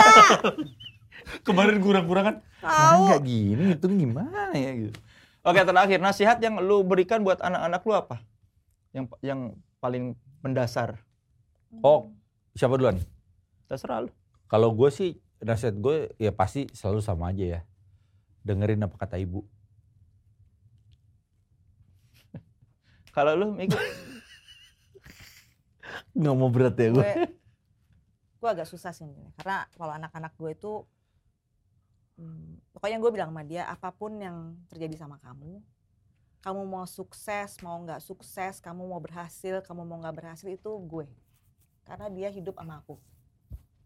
B: Kemarin kurang-kurangan.
A: Tahu.
C: Enggak gini, itu gimana ya gitu.
D: Ah, iya, Oke, terakhir nasihat yang lu berikan buat anak-anak lu apa? Yang yang paling mendasar.
B: Oh, siapa duluan?
D: Terserah lu.
B: Kalau gue sih nasihat gue ya pasti selalu sama aja ya. Dengerin apa kata ibu.
D: Kalau lu Miki,
C: Nggak mau berat ya gue.
A: gue gue agak susah sih sebenarnya. karena kalau anak-anak gue itu hmm, pokoknya gue bilang sama dia apapun yang terjadi sama kamu kamu mau sukses mau nggak sukses kamu mau berhasil kamu mau nggak berhasil itu gue karena dia hidup sama aku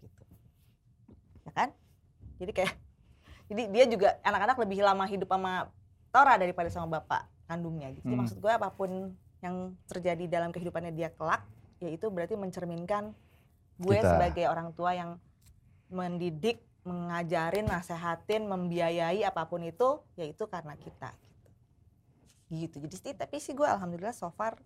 A: gitu ya kan jadi kayak jadi dia juga anak-anak lebih lama hidup sama Tora daripada sama bapak kandungnya gitu Jadi
D: Hmm.
A: maksud gue apapun yang terjadi dalam kehidupannya dia kelak ya itu berarti mencerminkan gue
C: Kita.
A: sebagai orang tua yang mendidik, mengajarin, nasehatin, membiayai apapun itu, yaitu karena kita gitu. Gitu. Jadi sih- tapi sih gue alhamdulillah so far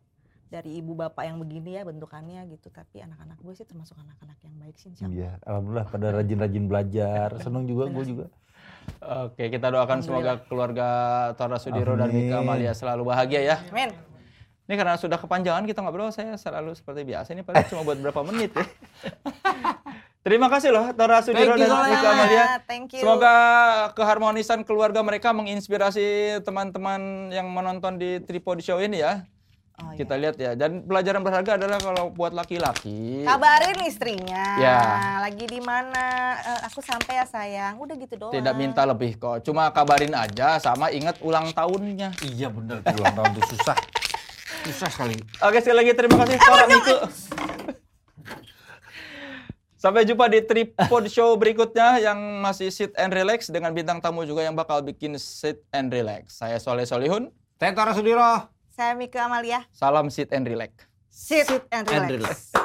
A: dari ibu bapak yang begini ya bentukannya gitu, tapi anak-anak gue sih termasuk anak-anak yang baik sih insya Allah.
B: Iya, alhamdulillah pada rajin-rajin belajar. Seneng juga gue juga.
D: oke kita doakan semoga keluarga Tora Sudiro dan Mika
C: Amin.
D: Amalia selalu bahagia ya.
A: Amin.
D: Ini karena sudah kepanjangan kita ngobrol, saya selalu seperti biasa ini paling cuma buat berapa menit ya. Terima kasih loh Tora
B: Thank
D: Sudiro
B: you
D: dan
B: so
D: Mika
B: much.
D: Amalia.
A: Thank you.
D: Semoga keharmonisan keluarga mereka menginspirasi teman-teman yang menonton di Tripod Show ini ya.
A: Oh, iya.
D: Kita lihat ya. Dan pelajaran berharga adalah kalau buat laki-laki.
A: Kabarin istrinya.
D: Ya.
A: Lagi di mana? Eh, aku sampai ya sayang. Udah gitu doang.
D: Tidak minta lebih kok. Cuma kabarin aja sama ingat ulang tahunnya.
B: Iya bener tuh ulang tahun tuh susah. Susah sekali.
D: Oke sekali lagi terima kasih Tora Miku. Sampai jumpa di Tripod Show berikutnya yang masih sit and relax dengan bintang tamu juga yang bakal bikin sit and relax. Saya Soleh Solihun.
B: Tetara Sudiro.
A: Saya Mika Amalia.
D: Salam sit and relax.
A: Sit, and relax.